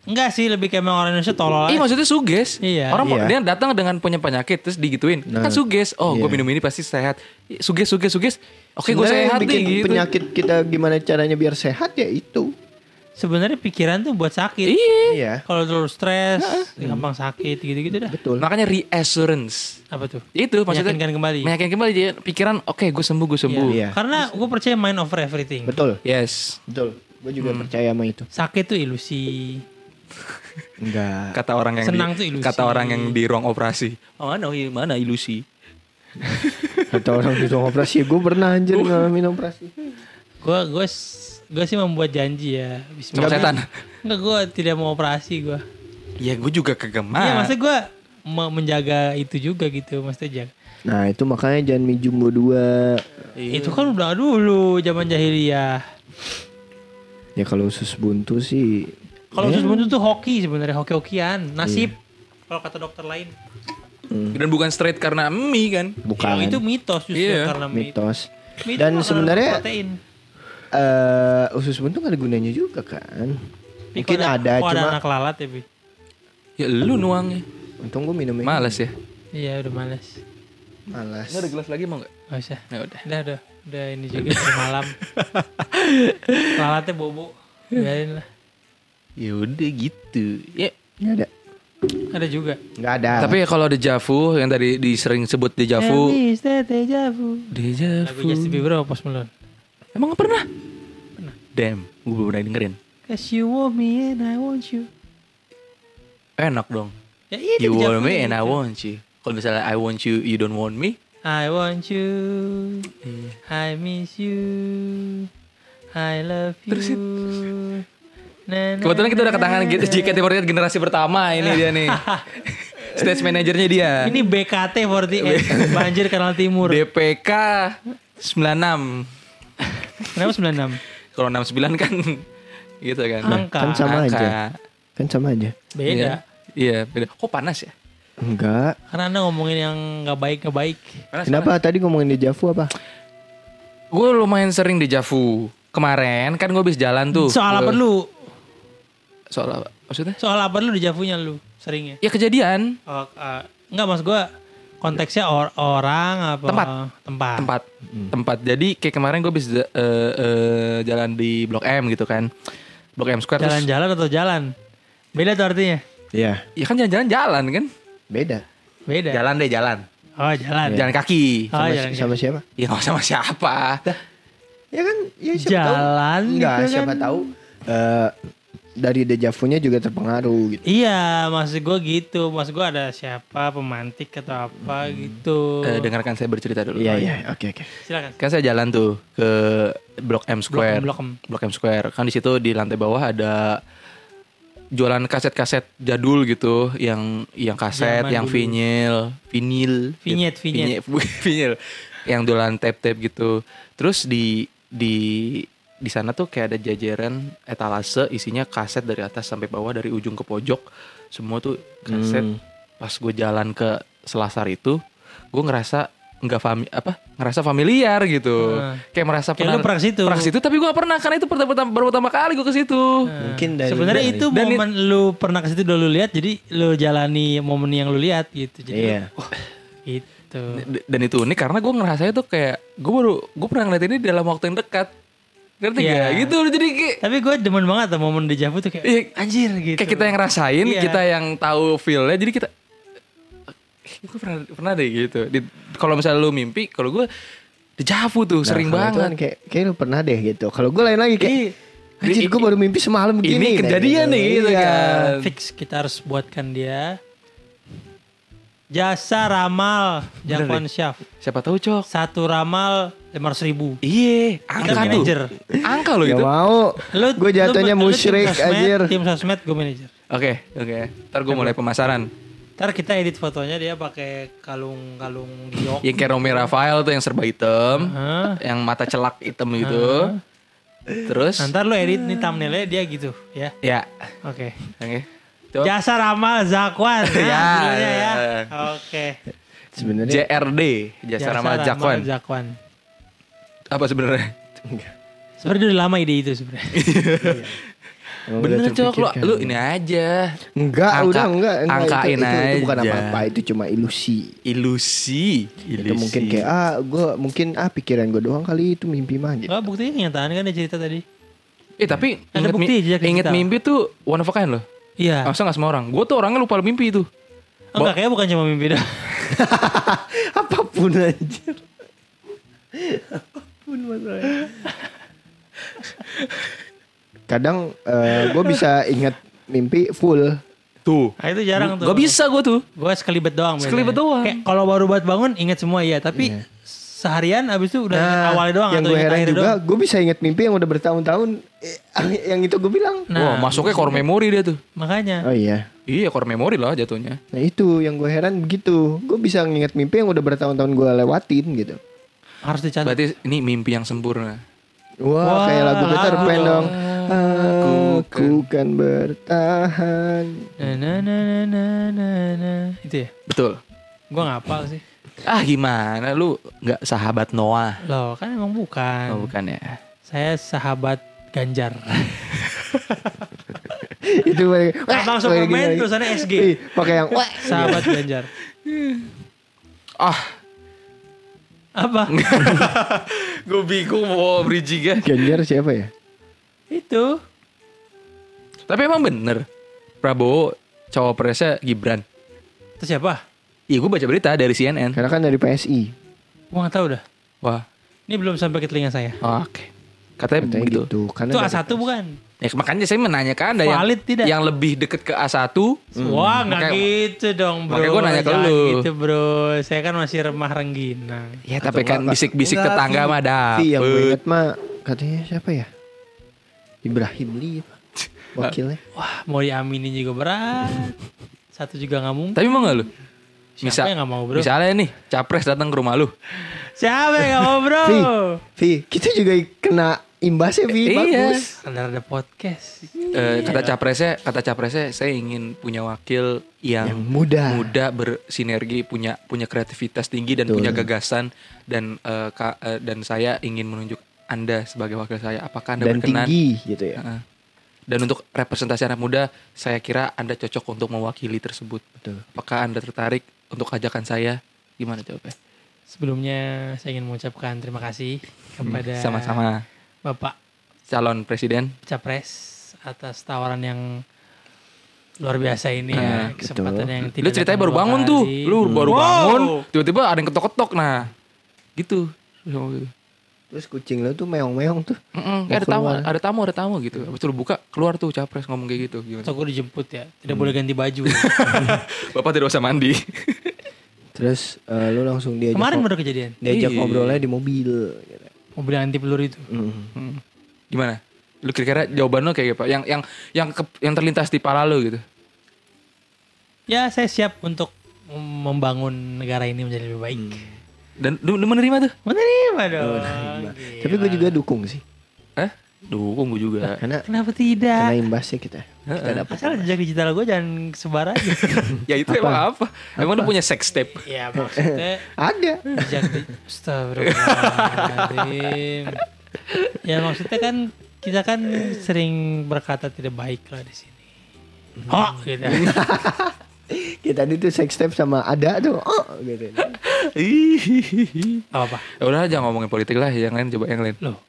Speaker 2: enggak sih lebih kayak emang orang Indonesia tolol.
Speaker 1: Iya
Speaker 2: aja.
Speaker 1: maksudnya suges.
Speaker 2: Iya.
Speaker 1: Orang
Speaker 3: Oh. Iya.
Speaker 1: dia datang dengan punya penyakit terus digituin.
Speaker 3: Nah.
Speaker 1: Kan suges. Oh, gue
Speaker 3: Iya.
Speaker 1: minum ini pasti sehat. Suges suges suges. Oke, gue
Speaker 3: Sebenarnya yang
Speaker 1: sehat nih
Speaker 3: bikin
Speaker 1: gitu.
Speaker 3: penyakit kita gimana caranya biar sehat ya itu.
Speaker 2: Sebenarnya pikiran tuh buat sakit.
Speaker 1: Iya.
Speaker 3: Iya.
Speaker 2: Kalau terlalu stres, ya gampang sakit gitu-gitu dah.
Speaker 3: Betul.
Speaker 1: Makanya reassurance.
Speaker 2: Apa tuh?
Speaker 1: Itu maksudnya
Speaker 2: Meyakinkan kembali.
Speaker 1: Meyakinkan kembali jadi pikiran oke gue sembuh gue sembuh.
Speaker 3: Iya.
Speaker 2: Karena gue percaya mind over everything.
Speaker 3: Betul.
Speaker 1: Yes.
Speaker 3: Betul. Gue juga percaya sama itu.
Speaker 2: Sakit tuh ilusi.
Speaker 3: Enggak.
Speaker 1: Kata orang yang
Speaker 2: Senang tuh
Speaker 1: di,
Speaker 2: ilusi.
Speaker 1: kata orang yang di ruang operasi. Oh, mana mana ilusi.
Speaker 3: Kata orang disuruh operasi, gue pernah anjir ngalamin operasi.
Speaker 2: Gue gue gue sih membuat janji ya.
Speaker 1: Sama
Speaker 2: Bismillah.
Speaker 1: setan.
Speaker 2: Enggak gue tidak mau operasi gue.
Speaker 1: Ya gue juga kegemar.
Speaker 2: Iya maksud gue menjaga itu juga gitu maksudnya jaga.
Speaker 3: Nah itu makanya jangan mie jumbo dua. Iya.
Speaker 2: Itu kan udah dulu zaman jahiliyah.
Speaker 3: Ya kalau usus buntu sih.
Speaker 2: Kalau usus
Speaker 3: Iya.
Speaker 2: buntu tuh hoki sebenarnya hoki-hokian nasib. Iya. Kalau kata dokter lain,
Speaker 1: Dan bukan straight karena mie kan.
Speaker 3: Bukan.
Speaker 2: Ya, itu mitos justru
Speaker 1: Iya.
Speaker 2: karena mitos.
Speaker 3: mitos.
Speaker 2: Mitos
Speaker 3: Dan
Speaker 2: makanan
Speaker 3: sebenarnya
Speaker 2: protein.
Speaker 3: eh usus buntu gak ada gunanya juga kan.
Speaker 2: Tapi
Speaker 3: Mungkin
Speaker 2: kalau
Speaker 3: ada,
Speaker 2: kalau
Speaker 3: cuma
Speaker 2: ada anak lalat ya bi.
Speaker 1: Ya lu nuangnya.
Speaker 3: untung gue minumnya
Speaker 1: Males ya.
Speaker 2: Iya udah males.
Speaker 3: malas.
Speaker 1: Ini ada gelas lagi mau nggak?
Speaker 2: Gak usah.
Speaker 1: Ya udah.
Speaker 2: Udah udah udah ini juga udah malam. Lalatnya bobo. Biarin lah.
Speaker 1: Ya udah gitu. Ya.
Speaker 3: Gak ada.
Speaker 2: Ada juga.
Speaker 3: Gak ada.
Speaker 1: Tapi ya kalau Dejavu yang tadi disering sebut Dejavu,
Speaker 2: Elvis, Tete, Javu. Lagu
Speaker 1: Dejavu.
Speaker 2: Justin Bieber apa Post Malone?
Speaker 1: Emang nggak pernah? Pernah. Damn, gue belum pernah dengerin.
Speaker 2: Cause you want me and I want you.
Speaker 1: Enak dong.
Speaker 2: Ya itu
Speaker 1: You
Speaker 2: di
Speaker 1: want
Speaker 2: Java
Speaker 1: me
Speaker 2: ya,
Speaker 1: and I
Speaker 2: gitu.
Speaker 1: want you. Kalau misalnya I want you, you don't want me.
Speaker 2: I want you.
Speaker 1: Iya.
Speaker 2: I miss you. I love you. Na, na,
Speaker 1: ya. Kebetulan kita udah
Speaker 2: na,
Speaker 1: ketangan gitu,
Speaker 2: na,
Speaker 1: JKT48 generasi pertama ini dia nih. stage manajernya dia.
Speaker 2: Ini
Speaker 1: Iya.
Speaker 2: BKT48 banjir Kanal Timur.
Speaker 1: DPK 96.
Speaker 2: Kenapa 96?
Speaker 1: Kalau 69 kan gitu kan.
Speaker 2: Angka.
Speaker 3: Kan sama
Speaker 1: Angka.
Speaker 3: aja. Kan sama aja.
Speaker 1: Iya.
Speaker 2: Ah. Beda.
Speaker 1: Iya, beda. Kok panas ya?
Speaker 3: Enggak.
Speaker 2: Karena Anda ngomongin yang nggak baik nggak baik.
Speaker 1: Panas,
Speaker 3: Kenapa tadi ngomongin dejavu apa?
Speaker 1: Gue lumayan sering dejavu. Kemarin kan gue habis jalan tuh.
Speaker 2: Soal apa
Speaker 1: Gua-
Speaker 2: lu?
Speaker 1: Soal apa? Maksudnya?
Speaker 2: Soal apa lu di Javunya lu seringnya?
Speaker 1: Ya kejadian
Speaker 2: Oh, eh, enggak mas gue konteksnya or- orang apa?
Speaker 1: Tempat.
Speaker 2: Tempat.
Speaker 1: tempat tempat. Jadi kayak kemarin gue habis eh, eh, jalan di Blok M gitu kan. Blok M Square terus-
Speaker 2: Jalan-jalan atau jalan? Beda tuh artinya.
Speaker 3: Iya.
Speaker 1: Ya kan jalan-jalan jalan kan?
Speaker 3: Beda.
Speaker 2: Beda.
Speaker 1: Jalan deh jalan.
Speaker 2: Oh jalan.
Speaker 1: Jalan kaki.
Speaker 2: Oh,
Speaker 3: Sama,
Speaker 2: jalan.
Speaker 3: sama siapa?
Speaker 1: Ya nggak sama siapa.
Speaker 3: Ya kan, ya siapa
Speaker 2: Jalan
Speaker 3: tahu. Enggak,
Speaker 2: gitu kan.
Speaker 3: siapa tahu eh, dari dejavunya juga terpengaruh gitu.
Speaker 2: Iya, maksud gue gitu. Maksud gue ada siapa pemantik atau apa gitu.
Speaker 1: Eh, dengarkan saya bercerita dulu.
Speaker 3: Iya, iya, oke, oke.
Speaker 2: Silakan.
Speaker 1: Kan saya jalan tuh ke Blok M Square.
Speaker 2: Blok M,
Speaker 1: Blok M Square. Kan di situ di lantai bawah ada jualan kaset-kaset jadul gitu yang yang kaset,
Speaker 2: Zaman
Speaker 1: yang
Speaker 2: dulu.
Speaker 1: vinyl, vinil,
Speaker 2: Vinyet, vinyet.
Speaker 1: vinyl, Gitu. vinyl. yang jualan tape-tape gitu. Terus di di di sana tuh kayak ada jajaran etalase isinya kaset dari atas sampai bawah dari ujung ke pojok. Semua tuh kaset. Pas gue jalan ke Selasar itu, gue ngerasa nggak fami apa ngerasa familiar gitu
Speaker 2: Ah.
Speaker 1: kayak merasa
Speaker 2: Kayak lu pernah ke situ.
Speaker 1: pernah ke situ tapi gue gak pernah karena itu pertama baru pertama kali gue ke situ
Speaker 2: Hmm.
Speaker 3: Mungkin dari
Speaker 2: Sebenarnya
Speaker 3: dari- Nah,
Speaker 2: itu
Speaker 1: Dan
Speaker 2: momen lu pernah ke situ udah lu lihat jadi lu jalani momen yang lu lihat gitu. Jadi
Speaker 3: Iya.
Speaker 2: lu, "Wah, gitu.
Speaker 1: D- dan itu unik karena gue ngerasanya tuh kayak gue baru gue pernah ngeliat ini dalam waktu yang dekat ngerti
Speaker 2: Iya.
Speaker 1: gak gitu jadi kayak
Speaker 2: Tapi gue demen banget tuh momen dejavu tuh kayak
Speaker 1: Iya.
Speaker 2: anjir gitu.
Speaker 1: kayak kita yang ngerasain
Speaker 2: Iya.
Speaker 1: kita yang tahu feelnya jadi kita gue pernah pernah deh gitu Di- kalau misalnya lu mimpi kalau gue dejavu tuh
Speaker 3: Nah,
Speaker 1: sering
Speaker 3: kalau itu
Speaker 1: banget
Speaker 3: kan kayak kayak lu pernah deh gitu. Kalau gue lain lagi kayak
Speaker 1: Iya.
Speaker 3: Anjir
Speaker 1: Ini-
Speaker 3: gue baru mimpi semalam
Speaker 1: ini
Speaker 3: begini. nah,
Speaker 1: kejadian nih gitu kan
Speaker 2: Eh, fix kita harus buatkan dia jasa ramal jagoan syaf
Speaker 1: siapa tahu cok
Speaker 2: satu ramal lima ratus ribu
Speaker 1: Iya, angka tuh.
Speaker 2: manajer.
Speaker 1: Angka lo
Speaker 3: Gak
Speaker 1: itu. Oke,
Speaker 3: mau. gue jatuhnya
Speaker 2: lu- lu tim
Speaker 3: musyrik
Speaker 2: sosmed,
Speaker 3: anjir.
Speaker 2: tim sosmed gue manajer
Speaker 1: oke. Ntar gue mulai pemasaran.
Speaker 2: ntar kita edit fotonya dia pakai kalung kalung giok
Speaker 1: Yang kayak Romy Rafael tuh yang serba hitam,
Speaker 2: Hah?
Speaker 1: yang mata celak hitam gitu. Terus,
Speaker 2: Nah, ntar lu edit nih thumbnailnya dia gitu ya
Speaker 1: ya,
Speaker 2: oke
Speaker 1: oke. Coba
Speaker 2: jasa ramal zakwan nah,
Speaker 1: Ya,
Speaker 2: judulnya ya
Speaker 1: ya.
Speaker 2: oke
Speaker 3: Sebenarnya
Speaker 1: JRD, Jasa Rama Jakwan.
Speaker 2: Zakwan.
Speaker 1: Apa sebenarnya?
Speaker 2: sebenarnya udah lama ide itu sebenarnya
Speaker 3: emang udah
Speaker 1: Bener cok, lu,
Speaker 3: terpikirkan.
Speaker 1: lu ini aja.
Speaker 3: Enggak,
Speaker 1: Angka-
Speaker 3: udah enggak, enggak.
Speaker 1: angkain
Speaker 3: itu, itu, itu bukan
Speaker 1: aja.
Speaker 3: apa-apa, itu cuma ilusi.
Speaker 1: Ilusi. Ilusi.
Speaker 3: Itu mungkin kayak ah gue mungkin ah pikiran gue doang kali itu mimpi mah gitu.
Speaker 2: Enggak buktinya kenyataan kan dia cerita tadi
Speaker 1: Eh tapi
Speaker 2: Ada
Speaker 1: inget, mi-
Speaker 2: bukti, jejak
Speaker 1: inget
Speaker 2: digital.
Speaker 1: mimpi tuh one of a kind loh.
Speaker 2: iya Oh,
Speaker 1: Masa gak semua orang? Gue tuh orangnya lupa mimpi itu.
Speaker 2: Enggak, kayaknya bukan cuma mimpi doang.
Speaker 3: Apapun anjir. Apapun masalahnya. Kadang gue bisa ingat mimpi full.
Speaker 1: Tuh.
Speaker 2: Nah, itu jarang tuh.
Speaker 1: Gak bisa gue tuh.
Speaker 2: Gue sekelibet doang. biasanya.
Speaker 1: Sekelibet doang.
Speaker 2: Kayak kalau baru buat bangun ingat semua ya, tapi seharian abis itu udah ingat awalnya doang
Speaker 3: Nah, yang
Speaker 2: atau
Speaker 3: gue
Speaker 2: ingat
Speaker 3: heran
Speaker 2: akhirnya
Speaker 3: juga,
Speaker 2: doang.
Speaker 3: gue bisa ingat mimpi yang udah bertahun-tahun. Eh, yang itu gue bilang.
Speaker 2: Nah,
Speaker 1: Wah, masuknya core memory dia tuh.
Speaker 2: Makanya.
Speaker 3: Oh iya.
Speaker 1: Iya, core memory lah jatuhnya.
Speaker 3: Nah itu yang gue heran begitu. Gue bisa nginget mimpi yang udah bertahun-tahun gue lewatin gitu.
Speaker 2: Harus dicatat.
Speaker 1: Berarti ini mimpi yang sempurna.
Speaker 3: Wah,
Speaker 2: Wah,
Speaker 3: kayak lagu Peter
Speaker 2: lagu
Speaker 3: Pan
Speaker 2: dong.
Speaker 3: dong. Aku kan bertahan.
Speaker 2: Na, na, na, na, na, na, na. Itu ya?
Speaker 1: Betul.
Speaker 2: Gue ngapal sih.
Speaker 1: Ah gimana lu nggak sahabat Noah?
Speaker 2: Loh, kan emang bukan.
Speaker 1: Oh, bukan ya.
Speaker 2: Saya sahabat Ganjar.
Speaker 3: itu pakai- wah,
Speaker 2: Abang
Speaker 3: pakai gini
Speaker 2: Superman
Speaker 3: lagi.
Speaker 2: tulisannya SG.
Speaker 1: Iya.
Speaker 3: Ih, Pakai yang wah.
Speaker 2: sahabat Ganjar.
Speaker 1: Ah,
Speaker 2: Apa?
Speaker 1: gue bingung mau bridging
Speaker 3: Ganjar siapa ya?
Speaker 2: itu.
Speaker 1: Tapi emang bener Prabowo cawapresnya Gibran.
Speaker 2: Itu siapa?
Speaker 1: Iya gue baca berita dari CNN.
Speaker 3: Karena kan dari PSI.
Speaker 2: Gue gak tau dah.
Speaker 1: Wah,
Speaker 2: Ini belum sampai ke telinga saya.
Speaker 1: oke. Katanya,
Speaker 3: Katanya
Speaker 1: Eh, begitu.
Speaker 3: gitu. Karena
Speaker 2: Itu
Speaker 3: dari-
Speaker 2: A1 bukan?
Speaker 1: Ya, makanya saya menanyakan ada yang
Speaker 2: Valid tidak?
Speaker 1: yang lebih deket ke A1.
Speaker 2: Wah nggak
Speaker 1: Hmm. Makanya-
Speaker 2: gitu dong bro
Speaker 1: makanya gua nanya ke
Speaker 2: Jangan
Speaker 1: lu.
Speaker 2: gitu bro Saya kan masih remah rengginang
Speaker 1: Ya tapi kan
Speaker 3: Enggak,
Speaker 1: bisik-bisik
Speaker 3: enggak, Iya,
Speaker 1: tetangga
Speaker 3: Vi.
Speaker 1: mah
Speaker 3: Vi, yang gue
Speaker 1: dapet.
Speaker 3: inget mah katanya siapa ya? Ibrahim Lee. apa? Wakilnya.
Speaker 2: Wah mau diaminin juga berat Satu juga nggak mungkin.
Speaker 1: Tapi mau gak lu?
Speaker 2: Siapa yang nggak mau, bro?
Speaker 1: Misalnya nih, capres datang ke rumah lu.
Speaker 2: Siapa yang nggak mau bro?
Speaker 3: Vi, Vi, kita juga kena imbasnya Vi,
Speaker 1: Iya.
Speaker 3: bagus.
Speaker 2: Karena ada podcast.
Speaker 1: Eh, kata capresnya, kata capresnya saya ingin punya wakil yang,
Speaker 3: Yang muda.
Speaker 1: muda bersinergi, punya punya kreativitas tinggi dan punya gagasan dan eh, ka- eh, dan saya ingin menunjuk Anda sebagai wakil saya. Apakah Anda
Speaker 3: Dan
Speaker 1: berkenan?
Speaker 3: tinggi gitu ya.
Speaker 1: Heeh. Dan untuk representasi anak muda, saya kira Anda cocok untuk mewakili tersebut.
Speaker 3: Betul.
Speaker 1: Apakah Anda tertarik untuk ajakan saya? Gimana jawabnya?
Speaker 2: Sebelumnya saya ingin mengucapkan terima kasih kepada
Speaker 1: Sama-sama
Speaker 2: Bapak
Speaker 1: calon presiden.
Speaker 2: Capres atas tawaran yang luar biasa ini ya.
Speaker 1: Nah,
Speaker 2: Kesempatan
Speaker 3: betul.
Speaker 2: yang tidak
Speaker 1: Lu ceritanya
Speaker 2: datang
Speaker 1: baru
Speaker 2: dua
Speaker 1: bangun
Speaker 2: kali.
Speaker 1: tuh. Lu baru
Speaker 3: Hmm.
Speaker 2: Wow.
Speaker 1: bangun, tiba-tiba ada yang ketok-ketok nah. Gitu. Mm
Speaker 3: Terus kucing lo tuh meong-meong tuh. Mau
Speaker 1: ada tamu,
Speaker 3: keluar.
Speaker 1: ada tamu, ada tamu gitu. Habis itu lu buka, keluar tuh capres ngomong kayak gitu. Gimana?
Speaker 2: Atau gue dijemput ya. Tidak boleh ganti baju.
Speaker 1: Bapak tidak usah mandi.
Speaker 3: Terus eh, lo langsung diajak
Speaker 2: Kemarin
Speaker 3: ngob-
Speaker 2: baru kejadian.
Speaker 3: diajak
Speaker 1: Iya.
Speaker 3: ngobrolnya di mobil. Gitu.
Speaker 2: Mobil yang anti peluru itu.
Speaker 3: Mm.
Speaker 1: Hmm. Gimana? Lu kira-kira jawaban lu kayak apa? Yang yang yang ke- yang terlintas di pala lu gitu.
Speaker 2: Ya saya siap untuk membangun negara ini menjadi lebih baik.
Speaker 1: Dan lu, lu Hmm. menerima tuh?
Speaker 2: Menerima dong.
Speaker 3: Tapi gue juga dukung sih.
Speaker 1: Eh? Dukung gue juga.
Speaker 3: Karena
Speaker 2: Kenapa
Speaker 3: karena
Speaker 2: tidak?
Speaker 3: imbasnya kita. Kita dapat.
Speaker 2: Asal jejak digital gue jangan sebar aja.
Speaker 1: ya itu emang apa? Emang lu punya sex tape?
Speaker 2: ya maksudnya
Speaker 3: Ada.
Speaker 2: jejak di... Astagfirullahaladzim. ya maksudnya kan kita kan sering berkata tidak baik lah di sini. Oh gitu.
Speaker 3: Kita tadi tuh sex step sama ada tuh. Oh gitu.
Speaker 1: Ih.
Speaker 2: Gak apa-apa.
Speaker 1: ya udah jangan ngomongin politik lah, yang lain coba yang lain.
Speaker 2: Loh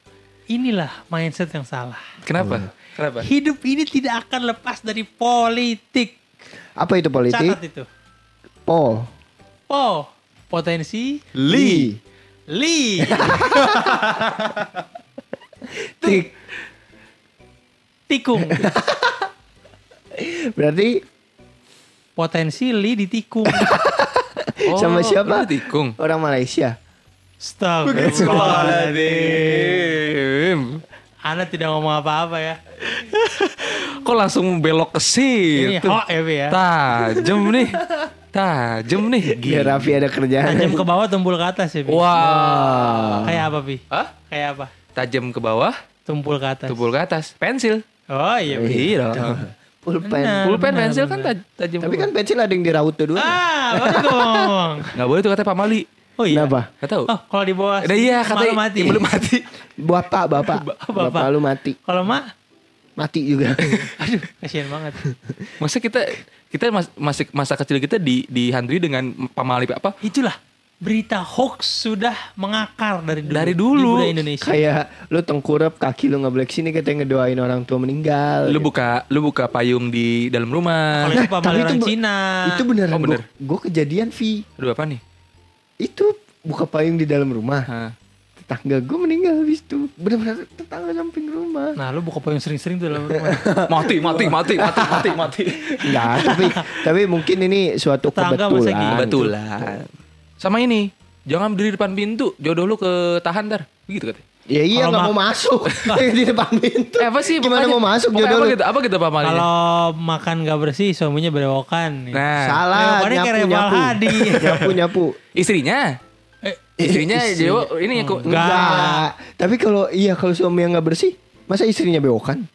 Speaker 2: inilah mindset yang salah.
Speaker 1: Kenapa? Kenapa?
Speaker 2: Hidup ini tidak akan lepas dari politik.
Speaker 3: Apa itu politik?
Speaker 2: Catat itu.
Speaker 3: Pol.
Speaker 2: Oh, potensi
Speaker 3: Li.
Speaker 2: Li.
Speaker 3: Tik.
Speaker 2: tikung.
Speaker 3: Berarti
Speaker 2: Potensi Li ditikung.
Speaker 3: sama
Speaker 1: Oh, lu
Speaker 3: siapa?
Speaker 1: tikung.
Speaker 3: Orang Malaysia.
Speaker 2: Astagfirullahaladzim. Anda tidak ngomong apa-apa ya.
Speaker 1: Kok langsung belok ke
Speaker 2: Ini
Speaker 1: situ?
Speaker 2: hoak ya, Bi, ya.
Speaker 1: Tajem nih. Tajem nih.
Speaker 3: Biar
Speaker 1: Gila.
Speaker 3: Raffi ada kerjaan.
Speaker 2: Tajam ke bawah tumpul ke atas ya, Bi.
Speaker 1: Wow.
Speaker 2: Kayak apa, Bi?
Speaker 1: Hah?
Speaker 2: Kayak apa?
Speaker 1: Tajem ke bawah,
Speaker 2: Tumpul ke atas.
Speaker 1: tumpul ke atas. Pensil.
Speaker 2: Oh iya, Bi.
Speaker 1: Iya.
Speaker 3: Pulpen.
Speaker 2: Benar,
Speaker 1: Pulpen
Speaker 2: benar,
Speaker 1: pensil kan
Speaker 2: benar.
Speaker 1: taj- tajam.
Speaker 3: Tapi
Speaker 1: ke
Speaker 3: kan pensil ada yang diraut
Speaker 1: Iya.
Speaker 3: tuh dulu.
Speaker 2: Ah, baru gua mau ngomong.
Speaker 1: Gak boleh tuh katanya Pak Mali.
Speaker 2: Oh iya.
Speaker 3: Kenapa?
Speaker 1: Gak tau.
Speaker 2: Oh, kalau di bawah
Speaker 1: Udah iya
Speaker 2: malu
Speaker 1: katanya
Speaker 2: mati.
Speaker 1: belum mati.
Speaker 3: Bapak, bapak.
Speaker 2: Bapak.
Speaker 3: Bapak lu mati.
Speaker 2: Kalau mak,
Speaker 3: Mati juga.
Speaker 2: aduh, kasihan banget.
Speaker 1: Masa kita kita mas- masih masa kecil kita di dihantui dengan Pak Mali apa?
Speaker 2: Itulah berita hoax sudah mengakar dari dulu.
Speaker 1: Dari dulu.
Speaker 2: Di budaya Indonesia.
Speaker 3: Kayak lu tengkurap kaki lu nggak boleh kesini katanya ngedoain orang tua
Speaker 2: iya.
Speaker 3: meninggal.
Speaker 1: Lu buka lu buka payung di dalam rumah.
Speaker 2: Kalau itu Pak Mali orang
Speaker 3: be-
Speaker 2: Cina.
Speaker 3: Itu beneran.
Speaker 1: Oh, bener.
Speaker 3: Gue kejadian Vi.
Speaker 1: Aduh apa nih?
Speaker 3: Itu buka payung di dalam rumah.
Speaker 1: Hah.
Speaker 3: Tetangga gue meninggal habis itu. Bener-bener tetangga samping rumah.
Speaker 2: Nah, lu buka payung sering-sering tuh dalam rumah.
Speaker 1: mati mati mati mati mati mati
Speaker 3: Enggak, tapi tapi mungkin ini suatu
Speaker 2: Tetangga masa
Speaker 3: kebetulan.
Speaker 2: gitu?
Speaker 1: kebetulan sama ini jangan berdiri depan pintu jodoh lu ke tahan dar begitu katanya
Speaker 3: Ya iya
Speaker 2: Kalau
Speaker 3: nggak
Speaker 2: mak-
Speaker 3: mau masuk di depan pintu.
Speaker 1: eh, apa sih
Speaker 3: Gimana
Speaker 1: pokoknya-
Speaker 3: mau masuk
Speaker 1: pokoknya
Speaker 3: jodoh
Speaker 1: apa
Speaker 3: lu?
Speaker 1: gitu apa gitu pak Mali
Speaker 2: Kalau makan gak bersih, suaminya berewokan.
Speaker 1: nah
Speaker 3: Salah,
Speaker 2: Leoparnya kayak
Speaker 3: nyapu
Speaker 2: Reval
Speaker 3: nyapu.
Speaker 2: Hadi.
Speaker 3: nyapu nyapu.
Speaker 1: istrinya
Speaker 2: Eh, Hmm,
Speaker 1: istrinya
Speaker 3: istri-
Speaker 1: jodoh ini yang ku-
Speaker 2: Enggak.
Speaker 3: Enggak. Tapi kalau iya kalau suami yang nggak bersih, masa istrinya bewokan?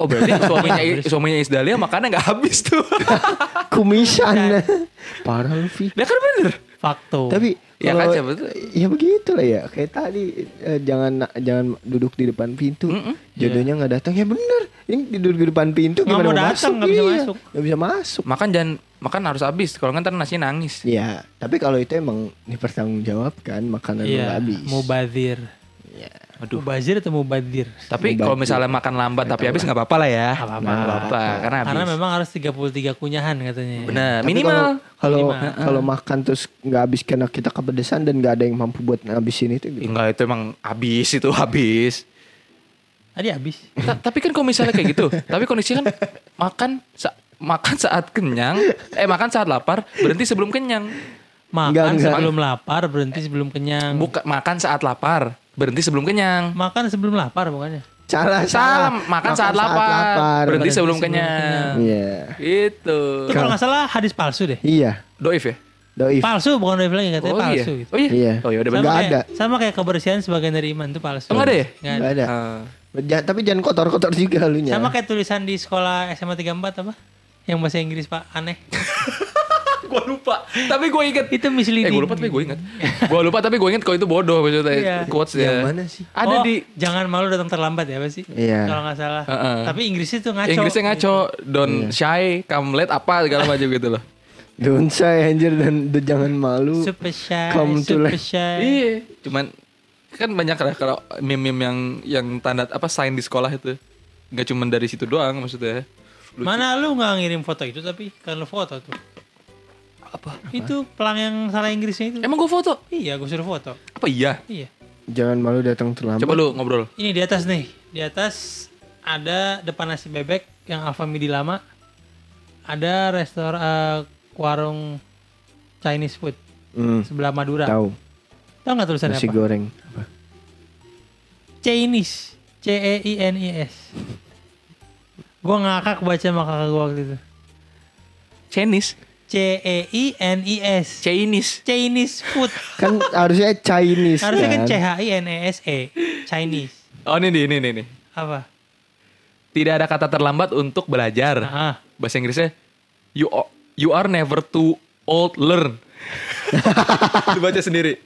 Speaker 1: oh berarti suaminya suaminya Isdalia makannya nggak habis tuh
Speaker 3: Kumisan. Parah lu, Vi.
Speaker 1: dia kan bener
Speaker 2: fakto.
Speaker 3: Tapi
Speaker 1: Ya
Speaker 3: kalau-
Speaker 1: kan, siapa tuh?
Speaker 3: Ya begitu lah ya. Kayak tadi eh, jangan jangan duduk di depan pintu. Jodohnya nggak datang. Ya bener. Ini duduk di depan pintu
Speaker 2: Nggak
Speaker 3: gimana
Speaker 2: mau datang,
Speaker 3: masuk?
Speaker 2: nggak bisa
Speaker 3: Iya,
Speaker 2: masuk.
Speaker 3: Nggak bisa masuk.
Speaker 1: makan jangan makan harus habis kalau nggak ntar nasinya nangis
Speaker 3: Ya, tapi kalau itu emang dipertanggungjawabkan makanan lu nggak
Speaker 2: Iya,
Speaker 3: habis.
Speaker 2: mubazir.
Speaker 1: Iya. Aduh.
Speaker 2: Mubazir atau mubadir?
Speaker 1: tapi kalau misalnya makan lambat tapi habis nggak apa-apa lah ya
Speaker 2: Nggak apa-apa.
Speaker 1: Nggak apa-apa karena habis
Speaker 2: Karena memang harus 33 kunyahan katanya.
Speaker 1: bener
Speaker 3: Tapi
Speaker 1: minimal
Speaker 3: kalau kalau, kalau makan terus nggak habis karena kita kepedesan dan nggak ada yang mampu buat ngabisin itu gitu.
Speaker 1: enggak itu emang habis itu habis
Speaker 2: Tadi habis.
Speaker 1: Ta- tapi kan kalau misalnya kayak gitu, tapi kondisi kan makan sa- makan saat kenyang, eh makan saat lapar, berhenti sebelum kenyang.
Speaker 2: Makan
Speaker 3: Enggak, enggak.
Speaker 2: sebelum lapar, berhenti sebelum kenyang.
Speaker 1: Buka makan saat lapar, berhenti sebelum kenyang.
Speaker 2: Makan sebelum lapar bukannya?
Speaker 3: Salah, salah.
Speaker 1: Salam, makan, saat lapar. Berhenti
Speaker 3: Iya.
Speaker 1: sebelum kenyang. Iya. Itu.
Speaker 2: Itu kalau nggak salah hadis palsu deh.
Speaker 3: Iya.
Speaker 1: Doif ya?
Speaker 3: Doif.
Speaker 2: Palsu bukan doif lagi katanya
Speaker 1: Oh
Speaker 2: palsu
Speaker 1: iya.
Speaker 2: gitu.
Speaker 1: Oh iya.
Speaker 3: Iya.
Speaker 1: Oh iya udah
Speaker 3: Sama
Speaker 1: bener.
Speaker 3: nggak
Speaker 2: kayak,
Speaker 3: ada.
Speaker 2: Sama kayak kebersihan sebagai dari iman itu palsu.
Speaker 1: Oh, nggak ada ya?
Speaker 2: Nggak
Speaker 3: Nggak
Speaker 2: ada.
Speaker 3: ada.
Speaker 1: Eh,
Speaker 3: Ja- tapi jangan kotor-kotor juga lu
Speaker 2: Sama kayak tulisan di sekolah SMA 34 apa? Yang bahasa Inggris Pak aneh.
Speaker 1: gua lupa, tapi gua inget.
Speaker 2: itu
Speaker 1: Eh
Speaker 2: misleading.
Speaker 1: gua lupa tapi gua inget. gua lupa tapi gua inget kalau itu bodoh maksudnya.
Speaker 2: Iya.
Speaker 1: Quotes ya.
Speaker 3: sih?
Speaker 1: Ada
Speaker 2: Oh,
Speaker 1: di
Speaker 2: jangan malu datang terlambat ya apa sih?
Speaker 3: Iya.
Speaker 2: Kalau nggak salah.
Speaker 1: Heeh.
Speaker 2: Tapi Inggrisnya tuh ngaco.
Speaker 1: Inggrisnya ngaco, don't shy, come late apa segala macam gitu loh.
Speaker 3: Don't say anjir dan d- jangan malu.
Speaker 2: Super shy,
Speaker 3: Come to
Speaker 2: super
Speaker 3: life.
Speaker 2: shy.
Speaker 1: Iya, cuman kan banyak lah kalau meme-meme yang yang tanda apa sign di sekolah itu. Gak cuman dari situ doang maksudnya. Lucu.
Speaker 2: Mana lu nggak ngirim foto itu tapi kan lu foto tuh. Apa? Itu pelang yang salah Inggrisnya itu.
Speaker 1: Emang gua foto?
Speaker 2: Iya, gue suruh foto.
Speaker 1: Apa iya?
Speaker 2: Iya.
Speaker 3: Jangan malu datang terlambat.
Speaker 1: Coba lu ngobrol.
Speaker 2: Ini di atas nih. Di atas ada depan nasi bebek yang Alfamidi lama. Ada restoran eh, warung Chinese food
Speaker 3: Hmm,
Speaker 2: sebelah Madura.
Speaker 3: tahu.
Speaker 2: Tahu nggak tulisannya apa?
Speaker 3: Nasi goreng. Apa?
Speaker 2: Chinese. C E I N I S. Gua ngakak baca sama kakak gua waktu itu.
Speaker 1: Chinese,
Speaker 2: C E I N I S.
Speaker 1: Chinese.
Speaker 2: Chinese food.
Speaker 3: Kan harusnya Chinese
Speaker 2: Harusnya kan
Speaker 3: kan.
Speaker 2: C H I N E S E. Chinese.
Speaker 1: Oh ini nih, ini nih, nih.
Speaker 2: Apa?
Speaker 1: Tidak ada kata terlambat untuk belajar.
Speaker 2: Nah,
Speaker 1: Bahasa Inggrisnya you o- you are never too old learn. Lu baca sendiri.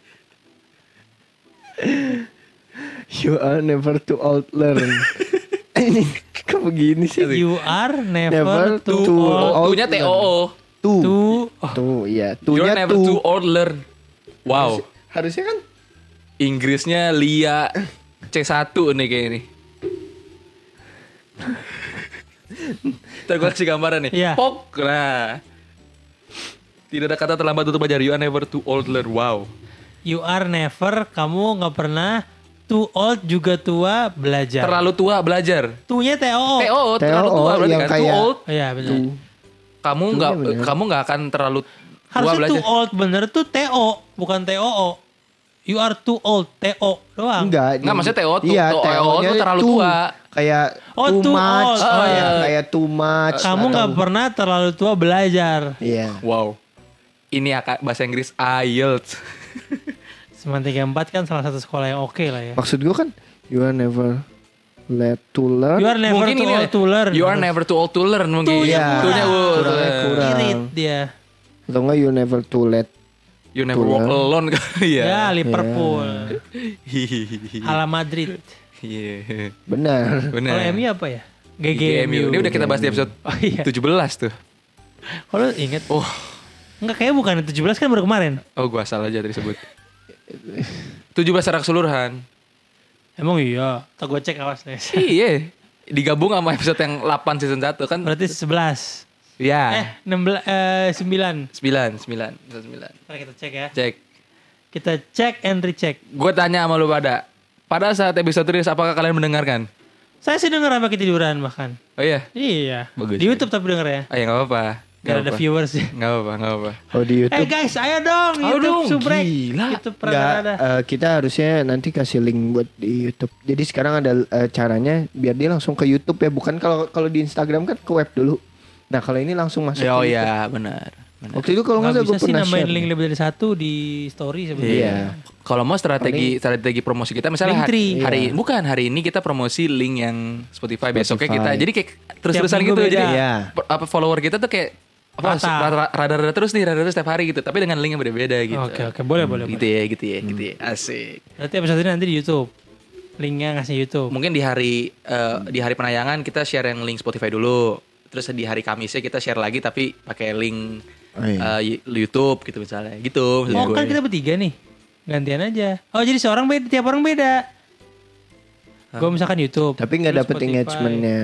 Speaker 3: You are never too old learn. Ini kok begini sih?
Speaker 2: you are
Speaker 3: Never
Speaker 2: never, too,
Speaker 3: too
Speaker 2: old
Speaker 3: Old
Speaker 1: Tuh-nya T O O.
Speaker 3: Tuh.
Speaker 2: to
Speaker 3: Tuh, iya.
Speaker 1: You are
Speaker 3: Tuhnya
Speaker 1: never too
Speaker 3: tuh.
Speaker 1: old learn.
Speaker 2: Iya
Speaker 1: Wow.
Speaker 3: Harusnya kan
Speaker 1: Inggrisnya Lia C1 nih kayaknya nih. Ntar gue kasih gambaran nih.
Speaker 2: Iya.
Speaker 1: Pok. Nah. Tidak ada kata terlambat untuk belajar. You are never too old learn. Wow.
Speaker 2: you are never kamu nggak pernah too old juga tua belajar.
Speaker 1: Terlalu tua belajar.
Speaker 2: Tuh-nya T O O.
Speaker 1: TO, terlalu
Speaker 3: TO,
Speaker 1: tua berarti
Speaker 3: yang
Speaker 1: kan.
Speaker 3: kayak- Iya,
Speaker 1: Too old.
Speaker 2: Oh, Iya benar.
Speaker 1: Kamu nggak kamu nggak akan terlalu tua
Speaker 2: Harusnya
Speaker 1: belajar.
Speaker 2: too old bener tuh T O bukan T O O. You are too old T O doang.
Speaker 3: enggak.
Speaker 1: Enggak, maksudnya TO tuh-
Speaker 3: Iya,
Speaker 1: TO
Speaker 3: TO-nya
Speaker 1: tuh terlalu
Speaker 3: tuh.
Speaker 1: tua.
Speaker 3: Kayak
Speaker 2: Oh,
Speaker 3: too
Speaker 2: too
Speaker 3: much.
Speaker 2: old. Oh,
Speaker 3: iya.
Speaker 2: iya.
Speaker 3: Kayak too much.
Speaker 2: Kamu nggak
Speaker 3: atau-
Speaker 2: pernah terlalu tua belajar.
Speaker 3: Iya.
Speaker 1: Wow. Ini akan bahasa Inggris IELTS.
Speaker 2: Semen 34 kan salah satu sekolah yang oke lah ya.
Speaker 3: Maksud gue kan you are never let to learn.
Speaker 2: You are never
Speaker 1: mungkin
Speaker 2: too
Speaker 1: ini
Speaker 2: old
Speaker 1: ya,
Speaker 2: to learn.
Speaker 1: You are never too old to learn mungkin. uh,
Speaker 2: Tuhnya
Speaker 3: Iya.
Speaker 1: Tuhnya, wow,
Speaker 3: Kurangnya
Speaker 1: learn.
Speaker 3: kurang.
Speaker 2: Irit dia.
Speaker 3: Atau enggak you never to let.
Speaker 1: You never
Speaker 3: Tuh,
Speaker 1: walk
Speaker 3: ya.
Speaker 1: alone kali ya.
Speaker 2: Ya Liverpool.
Speaker 3: Iya.
Speaker 1: Hihihi.
Speaker 2: Ala Madrid.
Speaker 1: Iya.
Speaker 3: Benar.
Speaker 1: Benar.
Speaker 2: Kalau MU apa ya?
Speaker 1: GGMU.
Speaker 2: GGMU.
Speaker 1: Ini udah kita bahas di episode
Speaker 2: Oh iya.
Speaker 1: 17 tuh.
Speaker 2: Kalau inget.
Speaker 1: Oh,
Speaker 2: Enggak kayak bukan 17 kan baru kemarin.
Speaker 1: oh gua salah aja tadi sebut. 17 secara keseluruhan.
Speaker 2: Emang iya. Tak gue cek awas nih.
Speaker 1: Iya. Digabung sama episode yang 8 season 1 kan.
Speaker 2: Berarti 11. Eh,
Speaker 1: Ya.
Speaker 2: 16 eh 9.
Speaker 1: 9, 9, 9.
Speaker 2: Ntar kita cek ya.
Speaker 1: Cek.
Speaker 2: Kita cek and recheck.
Speaker 1: Gue tanya sama lu pada. Pada saat episode rilis apakah kalian mendengarkan?
Speaker 2: Saya sih denger sampai ketiduran bahkan.
Speaker 1: Oh iya.
Speaker 2: Iya.
Speaker 1: Bagus,
Speaker 2: Di
Speaker 1: ya.
Speaker 2: YouTube tapi denger ya.
Speaker 1: Oh iya nggak apa-apa. Nggak
Speaker 2: Gak ada
Speaker 1: apa-apa.
Speaker 2: viewers ya.
Speaker 1: Nggak apa-apa, nggak apa-apa.
Speaker 3: Oh di
Speaker 2: Eh
Speaker 3: YouTube.
Speaker 2: guys, ayo dong
Speaker 1: Ayo
Speaker 2: YouTube
Speaker 1: dong,
Speaker 2: subrek.
Speaker 1: gila.
Speaker 2: YouTube
Speaker 3: Enggak,
Speaker 2: pernah ada.
Speaker 3: eh, kita harusnya nanti kasih link buat di YouTube. Jadi sekarang ada eh, caranya biar dia langsung ke YouTube ya, bukan kalau kalau di Instagram kan ke web dulu. Nah, kalau ini langsung masuk
Speaker 1: Ya,
Speaker 3: ke
Speaker 1: oh
Speaker 3: YouTube.
Speaker 1: iya,
Speaker 2: gitu.
Speaker 1: benar. benar.
Speaker 3: Waktu itu kalau nggak
Speaker 2: Nggak
Speaker 3: salah gue
Speaker 2: bisa sih
Speaker 3: pernah
Speaker 2: nambahin
Speaker 3: share.
Speaker 2: link lebih dari satu di story
Speaker 3: Iya.
Speaker 2: sebenarnya.
Speaker 1: Kalau mau strategi strategi promosi kita misalnya
Speaker 2: Link
Speaker 1: hari,
Speaker 2: tree. Iya.
Speaker 1: hari ini bukan hari ini kita promosi link yang Spotify, besoknya kita
Speaker 3: Spotify.
Speaker 1: jadi kayak terus-terusan
Speaker 2: Tiap
Speaker 1: gitu
Speaker 2: minggu beda.
Speaker 1: jadi
Speaker 3: Iya.
Speaker 1: per- apa follower kita tuh kayak apa
Speaker 2: Rata.
Speaker 1: rada- rada-rada terus nih rada-rada setiap hari gitu tapi dengan link yang beda-beda gitu.
Speaker 2: Oke, Hmm. oke, boleh, boleh,
Speaker 1: Gitu ya, gitu ya, gitu ya. Asik.
Speaker 2: Berarti episode ini nanti di YouTube. Linknya ngasih YouTube.
Speaker 1: Mungkin di hari eh, di hari penayangan kita share yang link Spotify dulu. Terus di hari Kamisnya kita share lagi tapi pakai link
Speaker 3: Oh, iya.
Speaker 1: eh, y- YouTube gitu misalnya. Gitu maksud
Speaker 2: Oh
Speaker 1: gue.
Speaker 2: kan kita bertiga nih. Gantian aja. Oh jadi seorang beda, tiap orang beda. Gue misalkan YouTube.
Speaker 3: Tapi nggak
Speaker 2: terus
Speaker 3: dapet
Speaker 2: Spotify.
Speaker 3: engagementnya.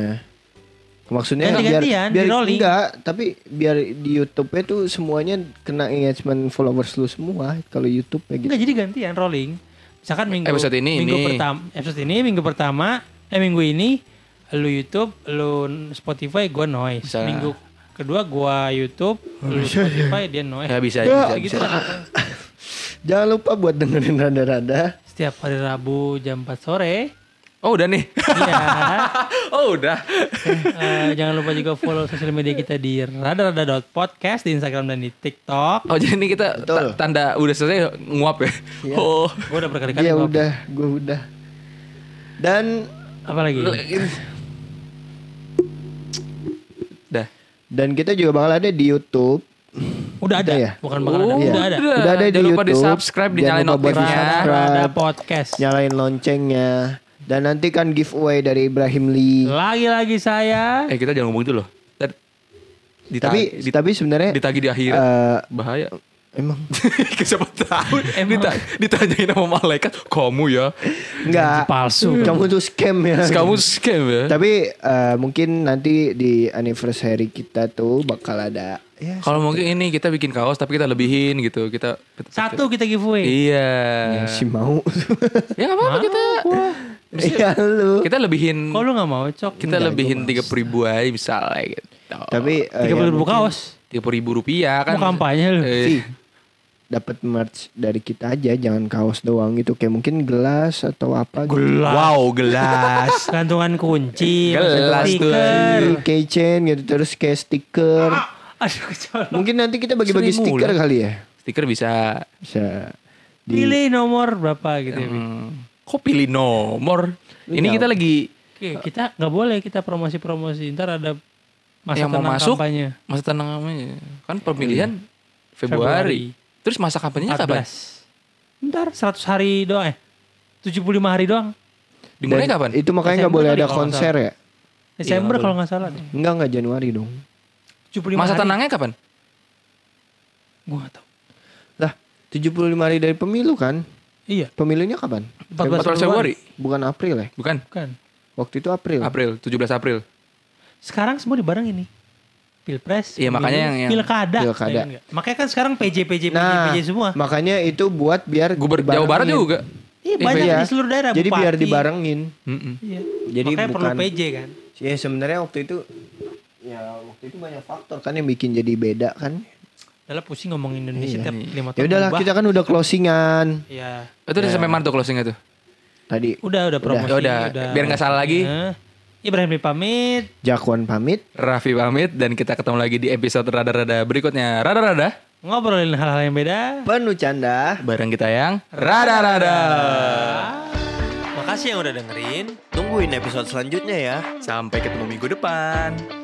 Speaker 3: Maksudnya biar
Speaker 2: Ganti-gantian,
Speaker 3: biar
Speaker 2: di-rolling.
Speaker 3: enggak, tapi biar di YouTube-nya tuh semuanya kena engagement followers lu semua kalau YouTube ya gitu.
Speaker 2: Enggak jadi gantian rolling. Misalkan minggu
Speaker 1: Episode ini,
Speaker 2: minggu
Speaker 1: ini.
Speaker 2: pertama episode ini minggu pertama eh minggu ini lu YouTube, lu Spotify, gua noise.
Speaker 1: Bisa.
Speaker 2: Minggu kedua gua YouTube, lu Spotify, dia noise.
Speaker 1: Ya bisa, bisa,
Speaker 3: Ya,
Speaker 2: gitu
Speaker 1: bisa.
Speaker 2: kan.
Speaker 3: Jangan lupa buat dengerin rada-rada.
Speaker 2: Setiap hari Rabu jam 4 sore
Speaker 1: Oh udah nih.
Speaker 2: Iya.
Speaker 1: oh udah.
Speaker 2: Eh, jangan lupa juga follow sosial media kita di radarada.podcast di Instagram dan di TikTok.
Speaker 1: Oh jadi ini kita ta-
Speaker 3: Betul.
Speaker 1: tanda udah selesai nguap ya. Oh.
Speaker 2: Gue udah berkali-kali.
Speaker 3: Iya
Speaker 2: ngomong.
Speaker 3: udah, gue udah. Dan
Speaker 2: Apa lagi?
Speaker 1: Dah.
Speaker 3: dan kita juga bakal ada di YouTube.
Speaker 2: Udah ada.
Speaker 3: Udah ya?
Speaker 2: Bukan bakal ada.
Speaker 1: Oh,
Speaker 2: Udah ada.
Speaker 1: udah.
Speaker 3: Udah ada di
Speaker 1: Jangan lupa
Speaker 3: YouTube.
Speaker 1: di-subscribe,
Speaker 3: Jangan
Speaker 1: dinyalain
Speaker 3: lupa buat
Speaker 1: notifnya.
Speaker 2: Radarada
Speaker 3: subscribe, Iya.
Speaker 2: podcast.
Speaker 3: nyalain loncengnya. Dan nanti kan giveaway dari Ibrahim Lee.
Speaker 1: Oh,
Speaker 2: Lagi-lagi saya.
Speaker 1: Eh kita jangan ngomong itu loh. Ntar ditag-
Speaker 3: tapi
Speaker 1: dit-
Speaker 3: tapi sebenarnya
Speaker 1: ditagi di akhir.
Speaker 3: eh,
Speaker 1: Bahaya.
Speaker 3: emang
Speaker 1: Siapa tahu
Speaker 2: Emang.
Speaker 1: dita- ditanyain sama malaikat kamu ya.
Speaker 3: enggak
Speaker 2: palsu.
Speaker 3: Kamu tuh scam ya.
Speaker 1: Kamu scam ya.
Speaker 3: Tapi eh, mungkin nanti di anniversary kita tuh bakal ada
Speaker 2: Eh.
Speaker 3: ya
Speaker 1: Kalau mungkin ini kita bikin kaos tapi kita lebihin gitu. Kita
Speaker 2: Satu kita giveaway.
Speaker 1: Iya.
Speaker 3: si mau.
Speaker 1: Ya nggak apa-apa kita.
Speaker 3: Iya lu.
Speaker 1: Kita lebihin
Speaker 2: Kalau lu gak mau cok.
Speaker 1: Iya. kita lebihin tiga puluh ribu aja misalnya gitu.
Speaker 3: Tapi eh,
Speaker 2: Tiga
Speaker 3: ya,
Speaker 2: puluh ribu kaos.
Speaker 1: tiga puluh ribu rupiah kan.
Speaker 2: Mau kampanye lu.
Speaker 1: Eh,
Speaker 3: sih dapat merch dari kita aja jangan kaos doang gitu kayak mungkin gelas atau apa gitu.
Speaker 1: Wow gelas.
Speaker 2: Gantungan kunci.
Speaker 1: Gelas tuh.
Speaker 2: stiker.
Speaker 3: Iya, Keychain gitu terus kayak stiker.
Speaker 2: Aduh kecolok.
Speaker 3: Mungkin nanti kita bagi-bagi
Speaker 1: Sering
Speaker 3: stiker
Speaker 1: mulai.
Speaker 3: kali ya.
Speaker 1: Stiker bisa.
Speaker 3: Bisa di
Speaker 2: Pilih nomor berapa gitu ya. Bi.
Speaker 1: Hmm, kok pilih nomor? Ini kita lagi
Speaker 2: Oke, kita nggak boleh kita promosi-promosi. Ntar ada masa
Speaker 1: yang mau
Speaker 2: tenang
Speaker 1: masuk
Speaker 2: kampanye.
Speaker 1: masa tenang kampanye. kan pemilihan
Speaker 2: Iya.
Speaker 1: Februari. Terus masa kampanyenya kapan?
Speaker 2: 14. Ntar 100 hari doang eh. 75 hari doang.
Speaker 1: Dimulai
Speaker 3: Dan
Speaker 1: kapan?
Speaker 3: Itu makanya nggak
Speaker 2: Desember
Speaker 3: boleh
Speaker 2: kali
Speaker 3: ada
Speaker 2: kalau nggak
Speaker 3: konser ya.
Speaker 2: Desember kalau nggak salah deh.
Speaker 3: Enggak enggak Januari dong.
Speaker 2: 75
Speaker 1: Masa
Speaker 2: hari.
Speaker 1: tenangnya kapan?
Speaker 2: Gua nggak tahu.
Speaker 3: Lah, 75 hari dari pemilu kan?
Speaker 2: Iya,
Speaker 3: Pemilunya kapan?
Speaker 1: 14
Speaker 2: 14 Februari.
Speaker 1: Februari.
Speaker 3: Bukan April ya?
Speaker 1: Bukan.
Speaker 2: Bukan.
Speaker 3: Waktu itu April.
Speaker 1: April, 17 April.
Speaker 2: Sekarang semua dibareng ini. Pilpres,
Speaker 1: Iya, makanya
Speaker 2: pemilu,
Speaker 1: yang- yang-
Speaker 2: pilkada.
Speaker 3: Pilkada.
Speaker 2: Ya, enggak? Makanya kan sekarang PJ PJ PJ,
Speaker 3: Nah,
Speaker 2: PJ semua.
Speaker 3: makanya itu buat biar
Speaker 1: Gubernur Jawa Iya, Barat
Speaker 3: dibarengin.
Speaker 1: juga.
Speaker 2: Iya, banyak
Speaker 3: Iya.
Speaker 2: di seluruh daerah
Speaker 3: Jadi
Speaker 2: bupati.
Speaker 3: biar dibarengin.
Speaker 1: Mm-mm.
Speaker 2: Iya.
Speaker 3: Jadi
Speaker 2: Makanya perlu
Speaker 3: bukan-
Speaker 2: PJ kan.
Speaker 3: Ya sebenarnya waktu itu ya waktu itu banyak faktor kan yang bikin jadi beda kan.
Speaker 2: Dalam pusing ngomongin Indonesia tiap lima tahun.
Speaker 3: Ya udahlah
Speaker 2: berubah.
Speaker 3: kita kan udah closingan
Speaker 2: Iya.
Speaker 1: Oh, Itu udah sampai mana tuh closingnya tuh?
Speaker 3: tadi.
Speaker 2: Udah, udah promosi.
Speaker 1: Ya udah, biar nggak salah lagi.
Speaker 2: Nah, Ibrahim Lee pamit.
Speaker 3: Jakwan pamit.
Speaker 1: Raffi pamit dan kita ketemu lagi di episode rada-rada berikutnya. Rada-rada
Speaker 2: Ngobrolin hal-hal yang beda.
Speaker 3: Penuh canda.
Speaker 1: bareng kita yang rada-rada.
Speaker 4: Makasih yang udah dengerin.
Speaker 5: Tungguin episode selanjutnya ya.
Speaker 1: Sampai ketemu minggu depan.